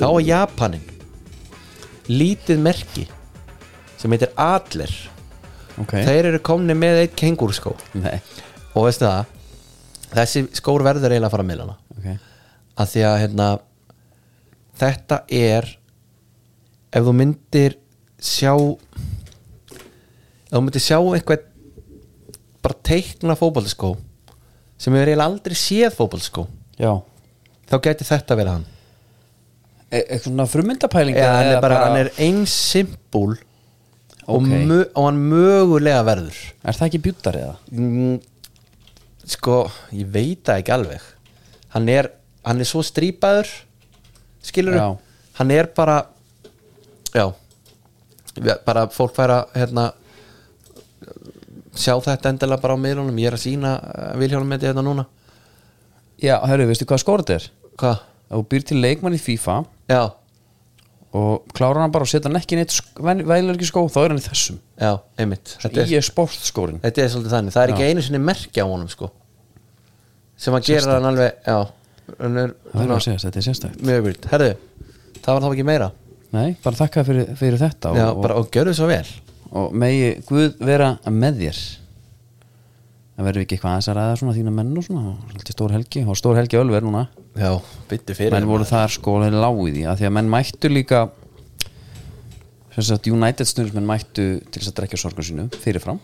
S2: þá er Japanin lítið merki sem heitir Adler
S1: ok
S2: þeir eru komni með eitt kengúrskó
S1: Nei,
S2: og veistu það þessi skór verður eiginlega að fara að millana
S1: ok
S2: að því að hérna, þetta er ef þú myndir sjá ef þú myndir sjá einhvern bara teikna fótboltaskó sem hefur eiginlega aldrei séð fótboltaskó
S1: Já
S2: þá gæti þetta verið hann
S1: E Eitthvað svona frummyndapæling
S2: eða hann er bara, hann er eins simpúl og,
S1: Ok.
S2: mö, og hann mögulega verður
S1: Er það ekki bjúttar eða?
S2: Mm, sko, ég veit það ekki alveg hann er, hann er svo strípaður skilur
S1: Já.
S2: hann er bara já við- bara fólk fær að hérna, sjá þetta endilega bara á miðlunum ég er að sína Vilhjálum með þetta hérna núna
S1: Já, herru, veistu hvað skóra þetta er?
S2: hvað?
S1: Ef þú býr til leikmann í FIFA
S2: Já,
S1: og klárar hann bara og setja hann ekki í neitt vælir ekki skó, þá er hann í þessum
S2: já, einmitt þetta
S1: Í
S2: er,
S1: er sportskórin
S2: þetta er svolítið þannig, það er ekki einu sinni merkja á honum sko sem að gera hann alveg já, hann er,
S1: Það er að segja, þetta er sérstækt
S2: mjög vilt, herðu það var þá ekki meira
S1: Nei, bara þakka fyrir, fyrir þetta og,
S2: Já, bara, og gjörðu svo vel
S1: og, og megi Guð vera með þér Það verður ekki eitthvað aðeins að ræða svona þína menn og svona, og svolítið stór helgi og stór helgi ölver núna
S2: Já, byttu fyrir hérna.
S1: menn voru þar sko og þeir lágu í því að því að menn mættu líka sem sagt United stundismenn mættu til þess að drekja sorgum sínu fyrirfram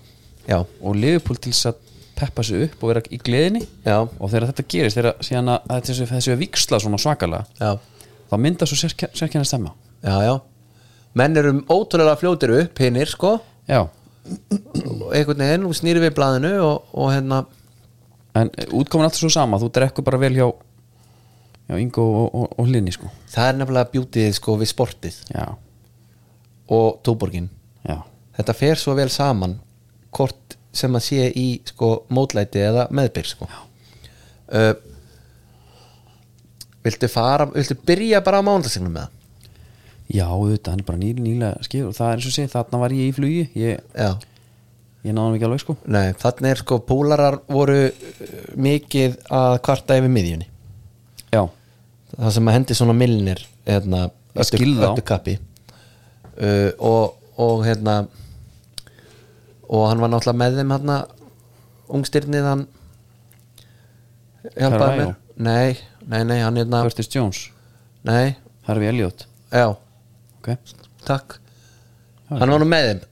S2: Já,
S1: og Liverpool til þess að peppa sig upp og vera í gleðinni
S2: Já.
S1: og þegar þetta gerist þegar síðan að að þessi, þessi að viksla svona svakalega
S2: já,
S1: þá myndast svo sérkenni stemma
S2: já, já Menn eru ótrúlega fljótir upp hinnir sko
S1: já,
S2: og einhvern veginn og snýri við blaðinu og, og hérna
S1: en eh, útkomin alltaf svo sama þú drekku bara vel hjá já, Ingo og, og, og Linni sko
S2: það er nefnilega bjútið sko við sportið
S1: já,
S2: og tóborgin
S1: já,
S2: þetta fer svo vel saman hvort sem að sé í sko mótlæti eða meðbyr sko uh, viltu fara viltu byrja bara á mánudagsignum með það
S1: já, auðvitað, hann er bara nýlega, nýlega skýr og það er eins og sé, þarna var ég í flugi ég,
S2: já
S1: ég náðum ekki alveg sko
S2: Nei, þannig er sko púlarar voru uh, mikið að kvarta yfir miðjunni
S1: já,
S2: það sem að hendi svona millinir hérna,
S1: Ég skil þá.
S2: öttukappi uh, og, og hérna og hann var náttúrulega með þeim hérna ungstyrnið hann hjálpaði mér
S1: Carvalho?
S2: nei, nei, nei, hann hérna
S1: Curtis Jones,
S2: nei,
S1: Harfi Elliot
S2: já,
S1: ok,
S2: takk hann var nú með þeim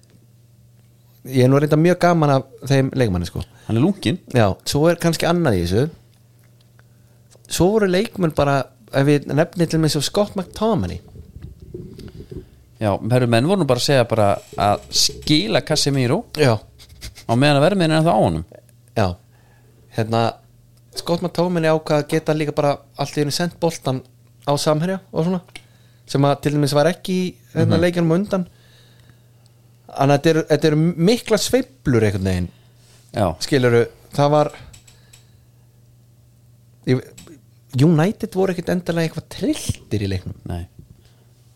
S2: ég er nú reynda mjög gaman af þeim leikmanni sko
S1: hann er lungin
S2: Já, svo er kannski annað í þessu Svo voru leikmenn bara ef við nefnir til með svo Scott McTominay
S1: já, herru, menn voru nú bara að segja bara að skila Casemiro
S2: Já,
S1: á meðan að verðmiðin er það á honum
S2: já Hérna, Scott McTominay ákvað að geta líka bara allt í henni sendt boltan á samherja og svona sem að til dæmis var ekki í hérna, leikjunum á undan Þannig að þetta eru- þetta eru mikla sveiflur einhvern veginn
S1: já,
S2: skiluru, það var Ég- United voru ekkert endalega eitthvað trilltir í leiknum
S1: nei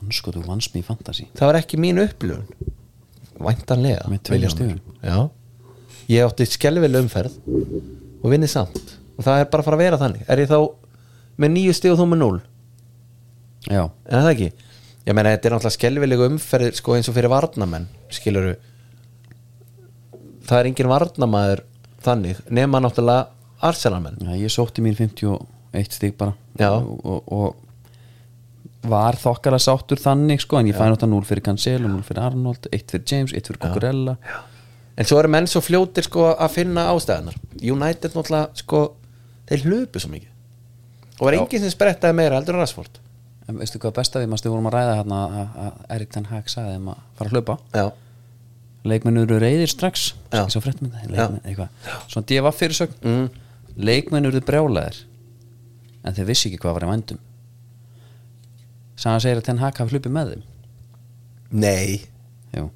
S1: hann sko, þú vannst mér í fantasy
S2: það var ekki mín upplöfun væntanlega
S1: Með tveimur
S2: Vilhjálmur. já ég átti skelvileg umferð og vinni samt og það er bara að fara að vera þannig er ég þá með nýju stig og þú með núl
S1: já,
S2: en það ekki ég meina þetta er náttúrulega skelvileg umferð sko eins og fyrir varnamenn skiluru það er engin varnamaður þannig nema náttúrulega arsenalmenn
S1: já ég sótti mín 51 stig bara
S2: Já.
S1: og, og, og var þokkar að sáttur þannig sko, en ég fæði náttúrulega 0 fyrir Cancel 0 fyrir Arnold, 1 fyrir James, 1 fyrir Cucurella
S2: en svo eru menn svo fljótir sko að finna ástæðanar United náttúrulega sko þeir hlupu svo mikið og var enginn sem sprettaði meira heldur en Rashford
S1: En veistu hvað besta við, mannstu við vorum að ræða hérna að- að Erik Ten Hag sagði um að fara að hlaupa
S2: já,
S1: leikmenn eru reyðir strax
S2: Já.
S1: svo fréttmynda, leikmenn, eitthvað svona djöfa fyrir sögn, mm. leikmenn eru brjálæðir en þeir vissi ekki hvað var í vændum sann að segir að Ten Hag hafi hlupið með þeim
S2: Nei
S1: Jú.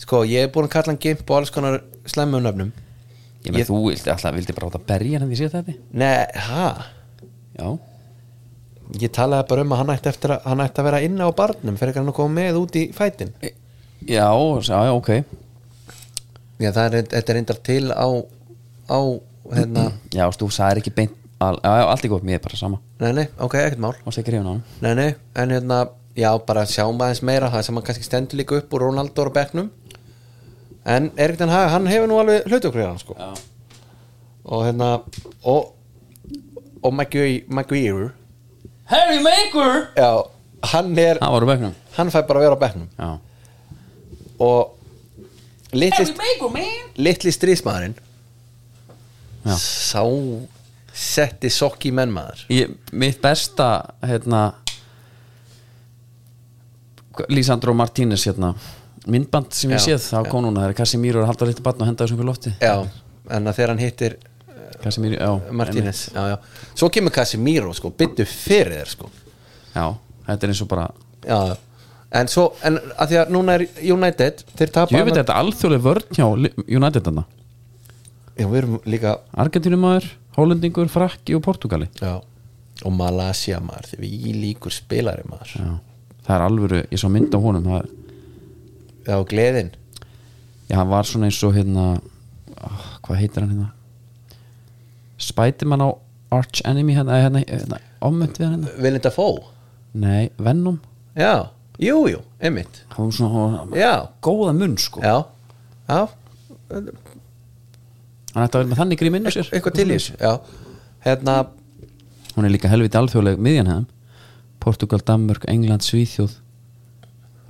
S2: Sko, ég er búin að kalla hann gimp og alls konar slæmum nöfnum
S1: ég með
S2: Ég-
S1: þú vildi alltaf, vildi bara átt að berja hann því séð þetta
S2: Nei, ha?
S1: já,
S2: Ég talaði bara um að hann ætti, eftir að, hann ætti að vera inna á barnum fyrir hann að koma með út í fætin
S1: E- já, sá, já, ok
S2: Já, það er, þetta er reyndar til á á, hérna
S1: já, þú sagðir ekki beint al, já, já, allt í góð, mér er bara sama
S2: Nei, nei, ok, ekkert mál
S1: og stekir hefur hann
S2: Nei, nei, en hérna Já, bara sjáum aðeins meira það sem hann kannski stendur líka upp úr Ronaldo og Becknum En Erik Den Haga, hann hefur nú alveg hlutu okkur hann, sko
S1: Já.
S2: Og hérna og, og Maguire Maguire,
S1: Harry Maker
S2: Já, hann er
S1: hann var úr bekknum
S2: hann fær bara að vera á bekknum
S1: já,
S2: og litli, litli strísmaðurinn
S1: Já.
S2: sá setti sokk í mennmaður
S1: ég, mitt besta hérna Lísandro Martínez hérna myndband sem ég
S2: Já,
S1: séð þá kom núna það er Casimiro er að halda litlu batn og henda þessum fyrir lofti
S2: já, en að þegar hann hittir
S1: Casimiro, já
S2: Martínez já, já. svo kemur Casemiro sko, byttu fyrir þér sko
S1: einmitt. já, þetta er eins og bara
S2: já, en svo en að því að núna er United þeir tapa
S1: ég veit þetta alþjóðlega vörn hjá Li- United þarna
S2: já, við erum líka
S1: Argentinumæður, Hollendingur, Frakki og Portugali
S2: já, og Malasia maður þegar við í líkur spilari maður
S1: já, það er alvöru, ég svo mynd á honum það er,
S2: já, og gleðin
S1: já, hann var svona eins og hérna ah, hvað heitir hann hérna Spiderman á Arch Enemy hérna, hérna, hérna, omönd við hann hérna
S2: Vilinda Fó
S1: Nei, Venom
S2: já, jú, jú, einmitt
S1: hann var svona hann,
S2: já,
S1: góða munn sko
S2: já, já
S1: hann ætti að vera með þannig grím inn á sér
S2: eitthvað til í þessu já. hérna,
S1: hún er líka helviti alþjóðleg miðjan hefðum Portugal, Danmörk, England, Svíþjóð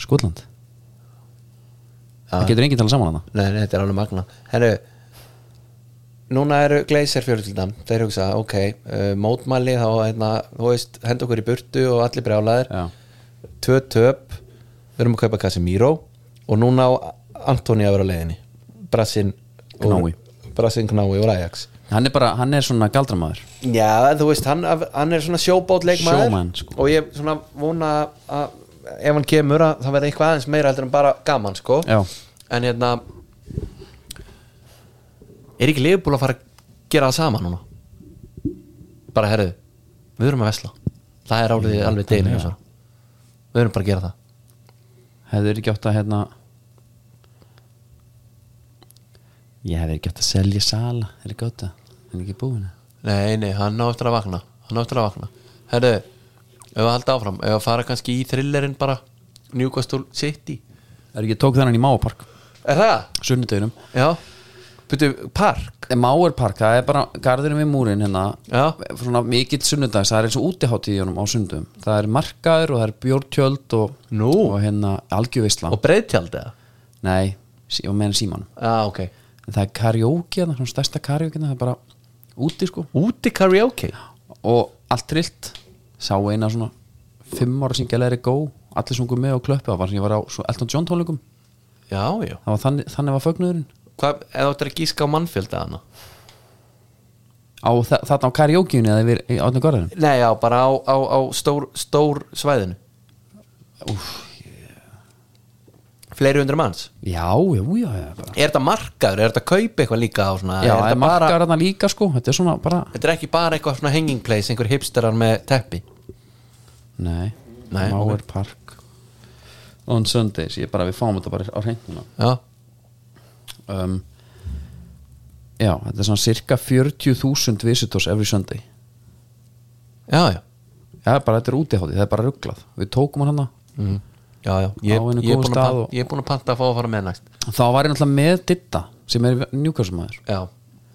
S1: Skotland
S2: Já.
S1: það getur enginn talað saman hana
S2: nei, nei, þetta er alveg magna hérna núna eru Glazer fjöröldan þeir hugsa, ok, uh, mótmæli þá, hérna, þú veist, henda okkur í burtu og allir brjálaðir,
S1: já,
S2: tvö töp við erum að kaupa Casemiro og núna á Antoni að vera á leiðinni Brasin
S1: Knái.
S2: Brasin Knái og Ajax
S1: hann er bara, hann er svona galdramæður
S2: Já, þú veist, hann, hann er svona sjóbót leikmaður
S1: Sjómann, sko.
S2: Og ég svona vona að ef hann kemur að það verði eitthvað aðeins meira heldur en bara gaman, sko
S1: Já.
S2: En hérna Er ekki leifbúl að fara að gera það sama núna? Bara, herðu, við erum að vesla Það er álið alveg deginu ja. Við erum bara að gera það
S1: hefur ekki átt að hérna ég hefur ekki átt að selja sala er ekki átt að, hann er ekki búin að
S2: Nei, nei, hann á eftir að vakna Hann á eftir að vakna Herðu, ef að halda áfram Ef að fara kannski í thrillerinn bara Newcastle City
S1: er ekki tók þennan í Máapark
S2: Er það?
S1: sunnudeginum
S2: Já Byrju, park
S1: Máarpark, það er bara garðurinn við múrin hérna
S2: Já.
S1: svona mikill sunnudags, það er eins og útihátt í honum á sundum það er markaður og það er bjórtjöld og,
S2: Nú.
S1: og hérna algjöfisla
S2: Og breiðtjald eða?
S1: nei, sí- og menn símanum
S2: Já, ok
S1: En það er karaoke, hérna, svona stærsta karaoke það er bara úti sko
S2: Úti karaoke
S1: og allt trillt sá eina svona fimm ára sem gæla er í gó allir sungu með og klöppu það var sem ég var á svo Elton John tónleikum
S2: Já, já
S1: það var þannig, þannig var fögnuðurinn
S2: Hvað, eða áttu að gíska á mannfjölda hana?
S1: á þa- þarna á karaokeinu eða yfir í átni gorðinum
S2: Nei, já, bara á, á, á stór, stór svæðinu Úf Fleiri hundra manns
S1: já, já, já, já bara.
S2: Er þetta markaður? Er þetta kaup eitthvað líka á svona?
S1: já,
S2: er
S1: það
S2: þetta
S1: er markar þarna líka sko þetta er svona bara,
S2: Þetta er ekki bara eitthvað svona hanging place Einhver hipsterar með teppi
S1: nei,
S2: Nei,
S1: Máer Park on Sundays, ég bara við fáum þetta bara á reynduna
S2: Já
S1: um, já, þetta er svona cirka 40.000 visitors every Sunday
S2: Já, já
S1: já, bara þetta er útihátti, það er bara rugglað við tókum hann hérna. hana
S2: Já, já Ég,
S1: Á einu
S2: ég, er,
S1: góðum
S2: búin að
S1: stað
S2: panta,
S1: og-
S2: ég er búin að panta að fá að fara með næst
S1: þá var ég náttúrulega með Ditta sem er njúkvæmsmaður
S2: Já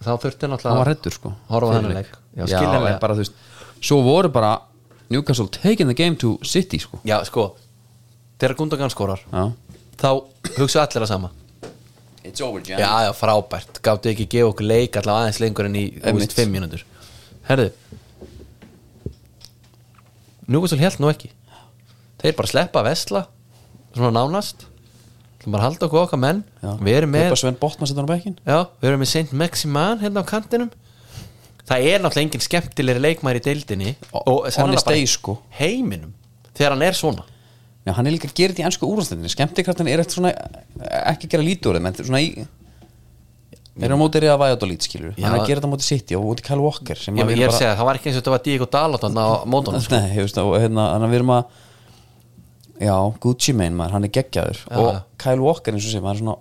S2: Þá þurfti náttúrulega
S1: hann var hrettur sko
S2: Horfa á
S1: Fyrir
S2: þennan
S1: leik.
S2: leik. Já,
S1: já,
S2: skiljanlega.
S1: en bara þú veist svo voru bara Newcastle taking the game to City sko
S2: Já, sko Þegar Gundogan skorar
S1: já
S2: Þá hugsa allir að sama
S1: it's over Jan
S2: Já, já, frábært Gáttu ekki að gefa okkur leik allavega aðeins lengur en í þú
S1: Einmitt.
S2: veist, fimm mínútur Herðu Núkvæmstul held nú ekki Þeir bara sleppa að vesla Svona nánast Það bara að halda okkur okkar menn Við erum með
S1: Sven Botman setur hann á bekkin
S2: Já, við erum með Saint Maximan hérna á kantinum Það er náttúrulega engin skemmtilegri leikmæri í deildinni
S1: Og- on
S2: sennilega
S1: his
S2: bara
S1: day,
S2: í
S1: sko.
S2: Heiminum Þegar hann er svona
S1: já hann er líka að gera þetta í ennsku úrvastendinni skemmtikraftin er eftir svona ekki að gera lítið úr þeim en þetta er svona í er á móti reyða Vajadolít skilur
S2: Já.
S1: hann er að gera þetta á móti City og móti Kyle Walker sem
S2: Ég,
S1: að við
S2: ég er
S1: erum
S2: að segja, það var ekki eins og þetta var Diego Dalot hann á mótunum sko.
S1: Nei, ég veist það, og hérna, þannig að við erum að Já, Gucci Mane maður, hann er geggjaður
S2: Já,
S1: Og
S2: já.
S1: Kyle Walker eins og sem, hann er svona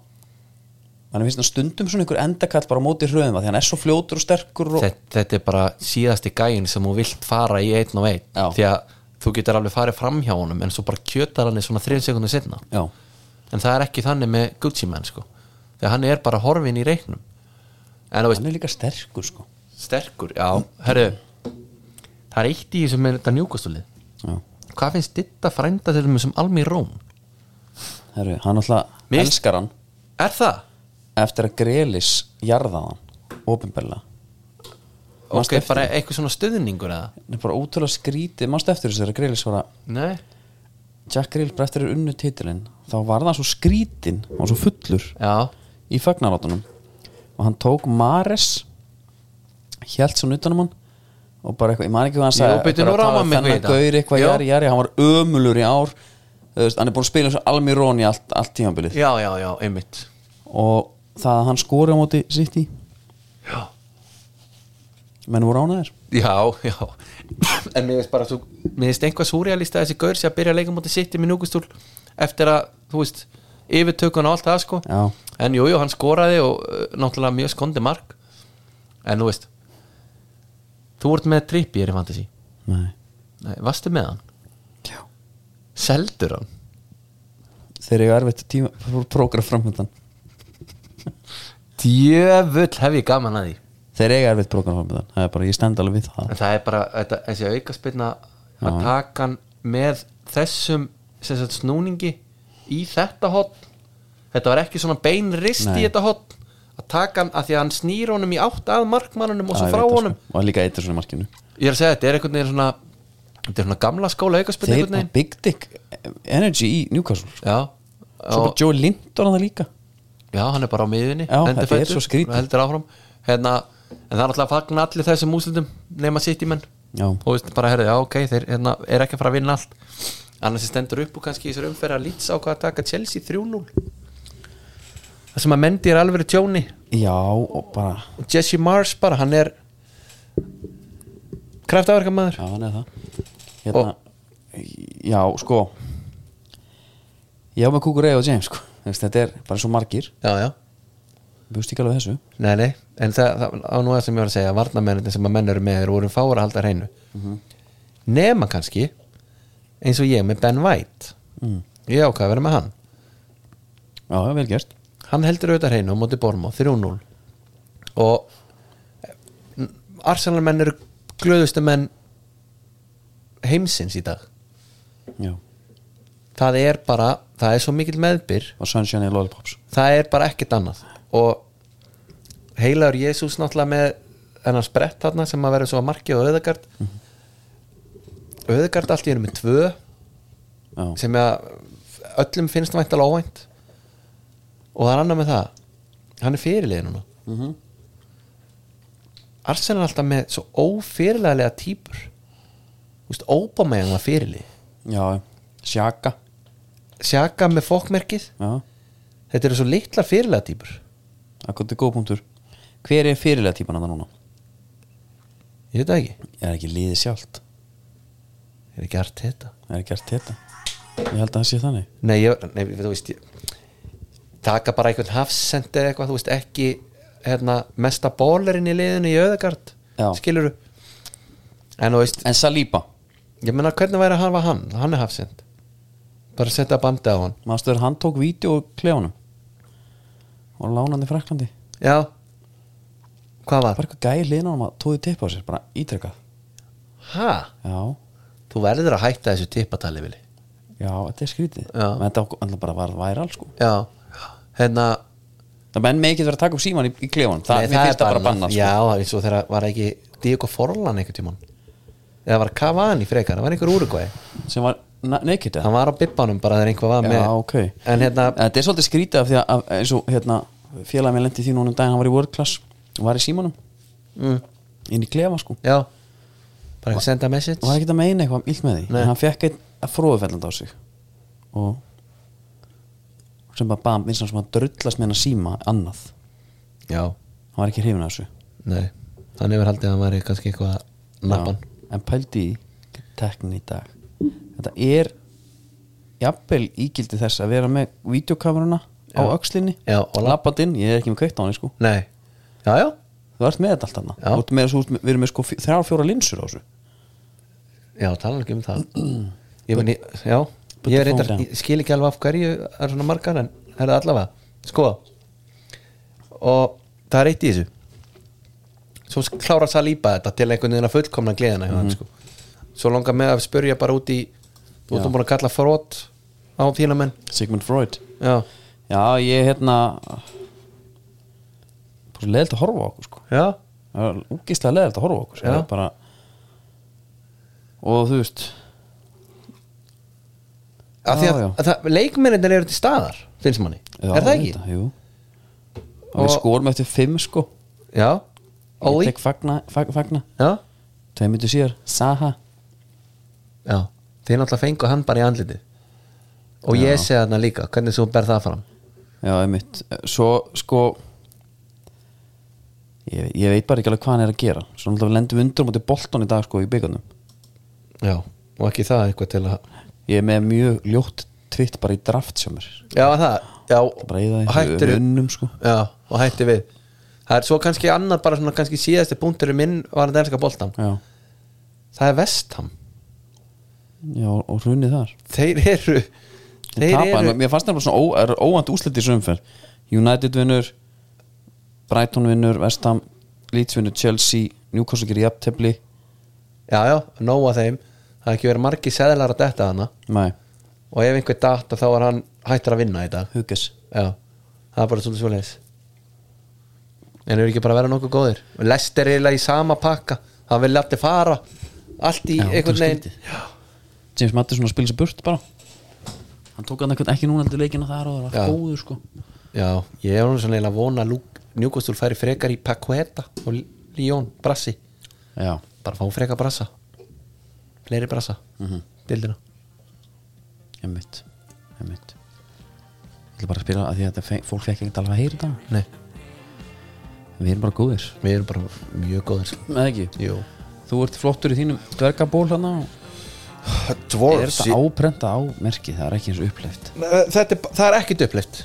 S1: Hann er finnst hann stundum svona einhver endakall bara á móti hröðum Því hann er svo fljótur og sterkur og...
S2: þetta, þetta er bara síðasti gæin sem þú vilt fara í einn og einn
S1: Já.
S2: Því að þú getur alveg farið fram hjá honum En svo bara kjötar hann í svona þrjum sekundu sinna
S1: Já,
S2: En það er ekki þannig með Gucci Man sko. Því að hann er bara horfin í reiknum En þú veist,
S1: hann er líka sterkur sko
S2: sterkur, já Herru, það er eitt í þessum með þetta njúkastúlið
S1: Já,
S2: Hvað finnst ditta frænda til þeim sem Almi Róm?
S1: herru, hann alltaf
S2: Mér-
S1: elskar hann
S2: Er það?
S1: Eftir að Grelis jarða hann Opinberlega
S2: Ok,
S1: Manstu eftir
S2: bara eitthvað svona stuðningur eða?
S1: Það er bara útrúlega skrítið, mást eftir þessu þegar Grelis var að
S2: Nei
S1: Jack Grelis bara eftir að unnu titilinn Þá var það svo skrítinn, hann var svo fullur
S2: Já,
S1: í fagnarátunum og hann tók Mares hjælt svo utanum um hann og bara eitthvað, ég man ekki hvað hann
S2: Jú,
S1: sagði
S2: beidu,
S1: bara
S2: nú rámar mig
S1: þennan
S2: eitthvað í þetta.
S1: gaur eitthvað,
S2: Já.
S1: jari, jari, hann var ömulur í ár Þú veist, hann er búin að spila eins og Almirón í allt, allt tímanbilið
S2: já, já, já, einmitt
S1: og það að hann skori á móti sitt í
S2: Já,
S1: menn voru ánæðir
S2: já, já. En mér veist bara, þú, mér veist einhvað súrealista þessi gaur sem að byrja að leika mútið sitt í minn úkustúl Eftir að, þú veist, yfirtökun og allt það sko
S1: Já.
S2: En jú, jú, hann skoraði og uh, náttúrulega mjög skondi mark En þú veist Þú ert með trippi, er í fantasy
S1: Nei.
S2: Nei, varstu með hann?
S1: Já.
S2: Seldur hann?
S1: þeir eru erfitt tíma prógraf framöndan
S2: Djöfull hef ég gaman að því
S1: þeir eru erfitt prógraf framöndan það er bara, ég stend alveg við það
S2: En það er bara þetta, þessi aukaspinna að
S1: Já.
S2: taka hann með þessum sem sagt, snúningi í þetta hotn Þetta var ekki svona beinrist
S1: Nei.
S2: í þetta hotn að taka hann að því að hann snýr honum í átt að markmannunum og
S1: Já,
S2: svo
S1: ég
S2: frá
S1: veit það,
S2: honum
S1: sko. og líka eitt er svona markinu
S2: Ég er að segja þetta er einhvern veginn svona þetta er svona gamla skóla aukaspinna
S1: þeir
S2: einhvern
S1: bara
S2: veginn
S1: big dick eh, energy í Newcastle sko.
S2: Já,
S1: svo bara
S2: og,
S1: Joe Linton að það líka
S2: já, hann er bara á miðinni
S1: Já, þetta er
S2: endurfæddur
S1: svo skrítið.
S2: og heldur áfram hérna en það er alltaf að fagna allir þessum úslitum nema sitt í menn
S1: Já.
S2: og veist bara herði, já ok, þeir hérna, er ekki að fara að vinna allt annars er stendur upp og kannski í þessar umferðar lýts á hvað að taka Chelsea 3-0 það sem að Mendy er alveg tjóni
S1: Já, og bara
S2: og Jesse Mars bara, hann er kraftaverkamaður
S1: Já, hann er það hérna, Já, sko Já, með Kukurei og James sko. Þú veist, Þetta er bara svo margir
S2: já, já,
S1: Við veist ekki alveg þessu
S2: nei, nei en það, það á nú það sem ég var að segja, varnamennin sem að menn eru með þeir voru fára að halda hreinu Mhm. nema kannski eins og ég með Ben White ég ákvað að vera með hann
S1: Já, já, vel gert
S2: hann heldur auðvitað hreinu á móti Bormó 3-0 og eh, Arsenal menn eru glöðustu menn heimsins í dag
S1: Já,
S2: það er bara, það er svo mikill meðbyr
S1: og Sunshine í Lollipops
S2: það er bara ekkert annað og heilagur Jésús náttúrulega með hennar sprett þarna sem að vera svo að marki og auðagard auðagard allt í einu með tvö
S1: Já,
S2: sem að öllum finnst væntalega óvænt og það er annað með það hann er fyrirlega núna mm Arsenal er alltaf með svo ófyrirlega típur Úst, Obameyang var fyrirlega
S1: já, Sjaka
S2: Sjaka með fokkmerkið
S1: Já,
S2: þetta eru svo litlar fyrirlega típur
S1: akkur til góð punktur Hver er fyrirlega típan að það núna?
S2: ég veit það ekki,
S1: Ég er ekki liðið sjálft
S2: er ekki art þetta
S1: Ég er ekki gert þetta Ég held að það sé þannig
S2: nei, ég, nei, við- þú veist ég, taka bara einhvern hafsend eða eitthvað, þú veist ekki hérna, mesta bólerinn í liðinu í auðagard
S1: Já.
S2: skiluru en þú veist,
S1: En Saliba,
S2: Ég meina hvernig væri að hafa hann Hann er hafsend Bara setja bandi á hann
S1: manstu þegar hann tók vídeo og klefunum og lánandi fræklandi
S2: Já Hvað var?
S1: bara eitthvað gæði liðin á hann að tóði tipp á sér bara ítrekkað
S2: Hæ?
S1: Já,
S2: Þú verður að hætta þessu tippatali vili
S1: já, þetta er skrítið
S2: Já.
S1: Men þetta okkur- alltaf bara var væral sko
S2: Já Hérna
S1: Það menn með ekki vera að taka upp síman í, í klefunum Það,
S2: nei,
S1: nei, það er bara
S2: bannað.
S1: bannað
S2: Já,
S1: sko.
S2: það er eins og þegar var ekki Diego Forlan einhvern tímann Eða var Cavani frekar Það var einhver úrugvæði
S1: sko. sem var na- naked eða
S2: Hann var á bibbanum bara þegar einhver var
S1: Já,
S2: með
S1: ok
S2: En hérna
S1: Þetta er svolítið skrítið af því að af- eins og hérna, félag mér lendi því núna um daginn hann var í world class og var í símanum
S2: mm,
S1: inn í klefa sko
S2: Já Bara ekki senda message
S1: og var ekkert að meina eitthvað illt með því
S2: Nei.
S1: en hann fekk einn að fróðufelland á sig og sem bara bam, eins og sem að drullast með hann að síma annað
S2: Já
S1: hann var ekki hrifin af þessu Já.
S2: Nei Hann hefur haldið að hann væri kannski eitthvað Nappan
S1: en pældi í teknin í dag þetta er jafnvel ígildi þess að vera með videokameruna á öxlinni
S2: Já, og lapp-
S1: labbað inn, ég er ekki með kveikt á hann sko.
S2: Nei Já, já
S1: þú ert með þetta allt hann
S2: Já.
S1: við erum með sko, fjó- þrjár fjóra linsur á þessu
S2: Já, tala ekki um það Ég meni, já
S1: Put the
S2: Ég er reyndar,
S1: phone down.
S2: ég skil ekki alveg af hverju er svona margar en er það allavega Sko Og það er eitt í þessu Svo sk- klárar Saliba þetta til einhvern veginn að fullkomna gleðina hjá
S1: Mhm.
S2: hann sko Svo langar mig að spyrja bara út í Þú
S1: Já.
S2: ertum búin að kalla frót á þína menn
S1: Sigmund Freud
S2: Já,
S1: já, ég hérna bara svo leðilt að horfa á okkur sko
S2: já,
S1: það var úkislega leðilegt að horfa á okkur
S2: Já.
S1: Það er bara... og þú veist
S2: Af því
S1: Já,
S2: að,
S1: já.
S2: að það- leikmennirnir eru til staðar finnst manni,
S1: já,
S2: er það ekki?
S1: auðvitað, jú. og við
S2: Og-
S1: skorum eftir fimm sko
S2: Já,
S1: ég
S2: Ói,
S1: tek fagna, fag, fagna.
S2: já,
S1: tveim myndu síðar, Saha
S2: já Þið náttúrulega fengu hann bara í andlitið Og ég sé þarna líka, hvernig þú berð það fram
S1: já, einmitt, svo sko ég, ég veit bara ekki alveg hvað hann er að gera svo náttúrulega við lendum undur mútið boltan í dag sko í byggarnum
S2: Já, og ekki það eitthvað til að
S1: ég er með mjög ljótt tvitt bara í draft sem er
S2: Já, það, já,
S1: bara í
S2: og
S1: það
S2: hættir við
S1: unnum sko
S2: Já, og hættir við Það er svo kannski annað bara svona kannski síðasti punktur minn var að danska boltam
S1: já,
S2: Það er vestam
S1: já og hrunnið þar
S2: Þeir eru
S1: Þeir
S2: Þeir
S1: tapa,
S2: eru
S1: en Mér fannst það bara svona ó, er óvænt úslit í sömumferð United vinnur Brighton vinnur, West Ham Leeds vinnur, Chelsea, Newcastle gerir jafntefli
S2: Já, já, nóg að þeim Það er ekki verið margi seðlar að detta hana
S1: Nei,
S2: Og ef einhver datt þá er hann hættur að vinna í dag
S1: hugis
S2: Já, það er bara svona svo leis En eru ekki bara að vera nokkuð góðir Lester er eiginlega í sama pakka Það vilja allir fara Allt í
S1: Já,
S2: einhvern
S1: það er
S2: veginn
S1: skrítið. James Madison að spila sér burt bara Hann tók hann eitthvað ekki núna heldur leikina þar og það
S2: Já.
S1: var góður sko
S2: Já, ég er nú svona eiginlega að vona að Luke Njúkostúl færi frekar í Paqueta og Líón, Brassi
S1: já,
S2: bara fá freka Brassa fleiri Brassa mm
S1: Mhm.
S2: -hmm. dildina
S1: einmitt einmitt ég ætla bara að spila að því að þetta fe- fólk fekk ekkert alveg að heyra þetta
S2: Nei,
S1: við erum bara góðir
S2: við erum bara mjög góðir
S1: með ekki,
S2: Jú
S1: þú ert flottur í þínum dvergaból hana er
S2: Dwarfs
S1: þetta áprenta á merkið, það er ekki eins og uppleift
S2: þetta er, Það er ekkit upplift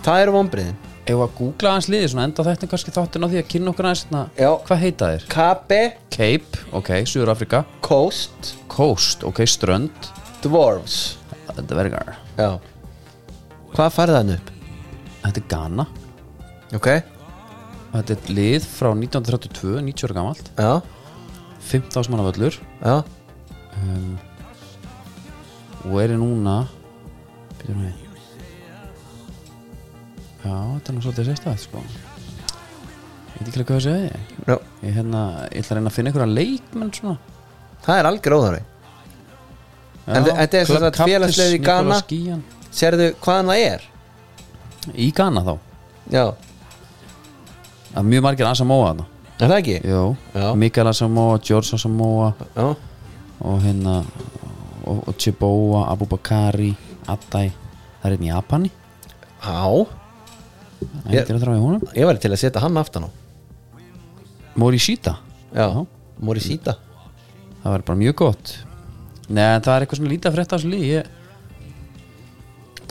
S2: Það eru vonbriðin
S1: ef að googla hans liðið svona enda þetta kannski þáttin á því að kynna okkur aðeins hérna,
S2: Já.
S1: hvað heita þér?
S2: Kabe,
S1: Cape, ok, Suður Afrika
S2: Coast,
S1: Coast, ok, Strönd
S2: Dwarfs
S1: Dvergar,
S2: Já Hvað færði hann upp?
S1: þetta er Ghana
S2: Ok
S1: þetta er lið frá 1932, 90 ára gamalt
S2: Já,
S1: 15 manna völlur
S2: já
S1: og er núna byrjum við já, þetta er nú svolítið sérstæð sko ég veit ekki hvað það segja ég
S2: Já
S1: ég, hérna, ég ætla að reyna að finna einhverja leikmenn svona
S2: Það er algjör óðari
S1: já,
S2: En þe- þetta er sem
S1: Club
S2: sagt félagslið í
S1: Captains,
S2: Ghana.
S1: Nicolas Gían.
S2: Sérðu hvaðan það er?
S1: í Ghana þá,
S2: Já
S1: það er mjög margir Asamoa þarna
S2: Er það ekki?
S1: Jó,
S2: Já.
S1: Mikael Asamoa, George Asamoa
S2: Já
S1: og hérna og, og Chiboa, Abubakari Adai, það er einn í Japani
S2: Já
S1: það er að þráði honum
S2: Ég væri til að setja hann aftan á
S1: Morishita,
S2: Já Morisita
S1: það verður bara mjög gott Nei, en það er eitthvað svona lítið að frétta af þessu lið ég,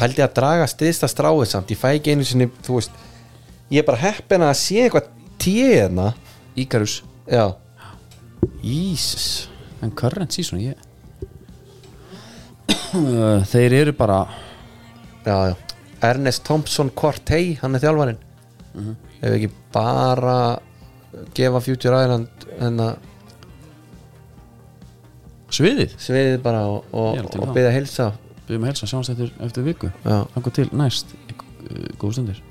S2: Pældi að draga stiðsta stráið samt Ég fæ ekki einu sinni, þú veist Ég er bara heppin að sé eitthvað hérna. tíðna
S1: Íkarus,
S2: Já Ísus
S1: en current season ég Þeir eru bara
S2: já, já. Ernest Thompson Cortey hann er þjálfarin ef ekki bara gefa Future Island hérna hennar
S1: sviðið
S2: sviðið bara og, og,
S1: Ég er til
S2: og
S1: það.
S2: byrja að hilsa
S1: Við erum að helsa, sjáumst eftir, eftir viku
S2: Já.
S1: Þannig til næst, eh, góð stundir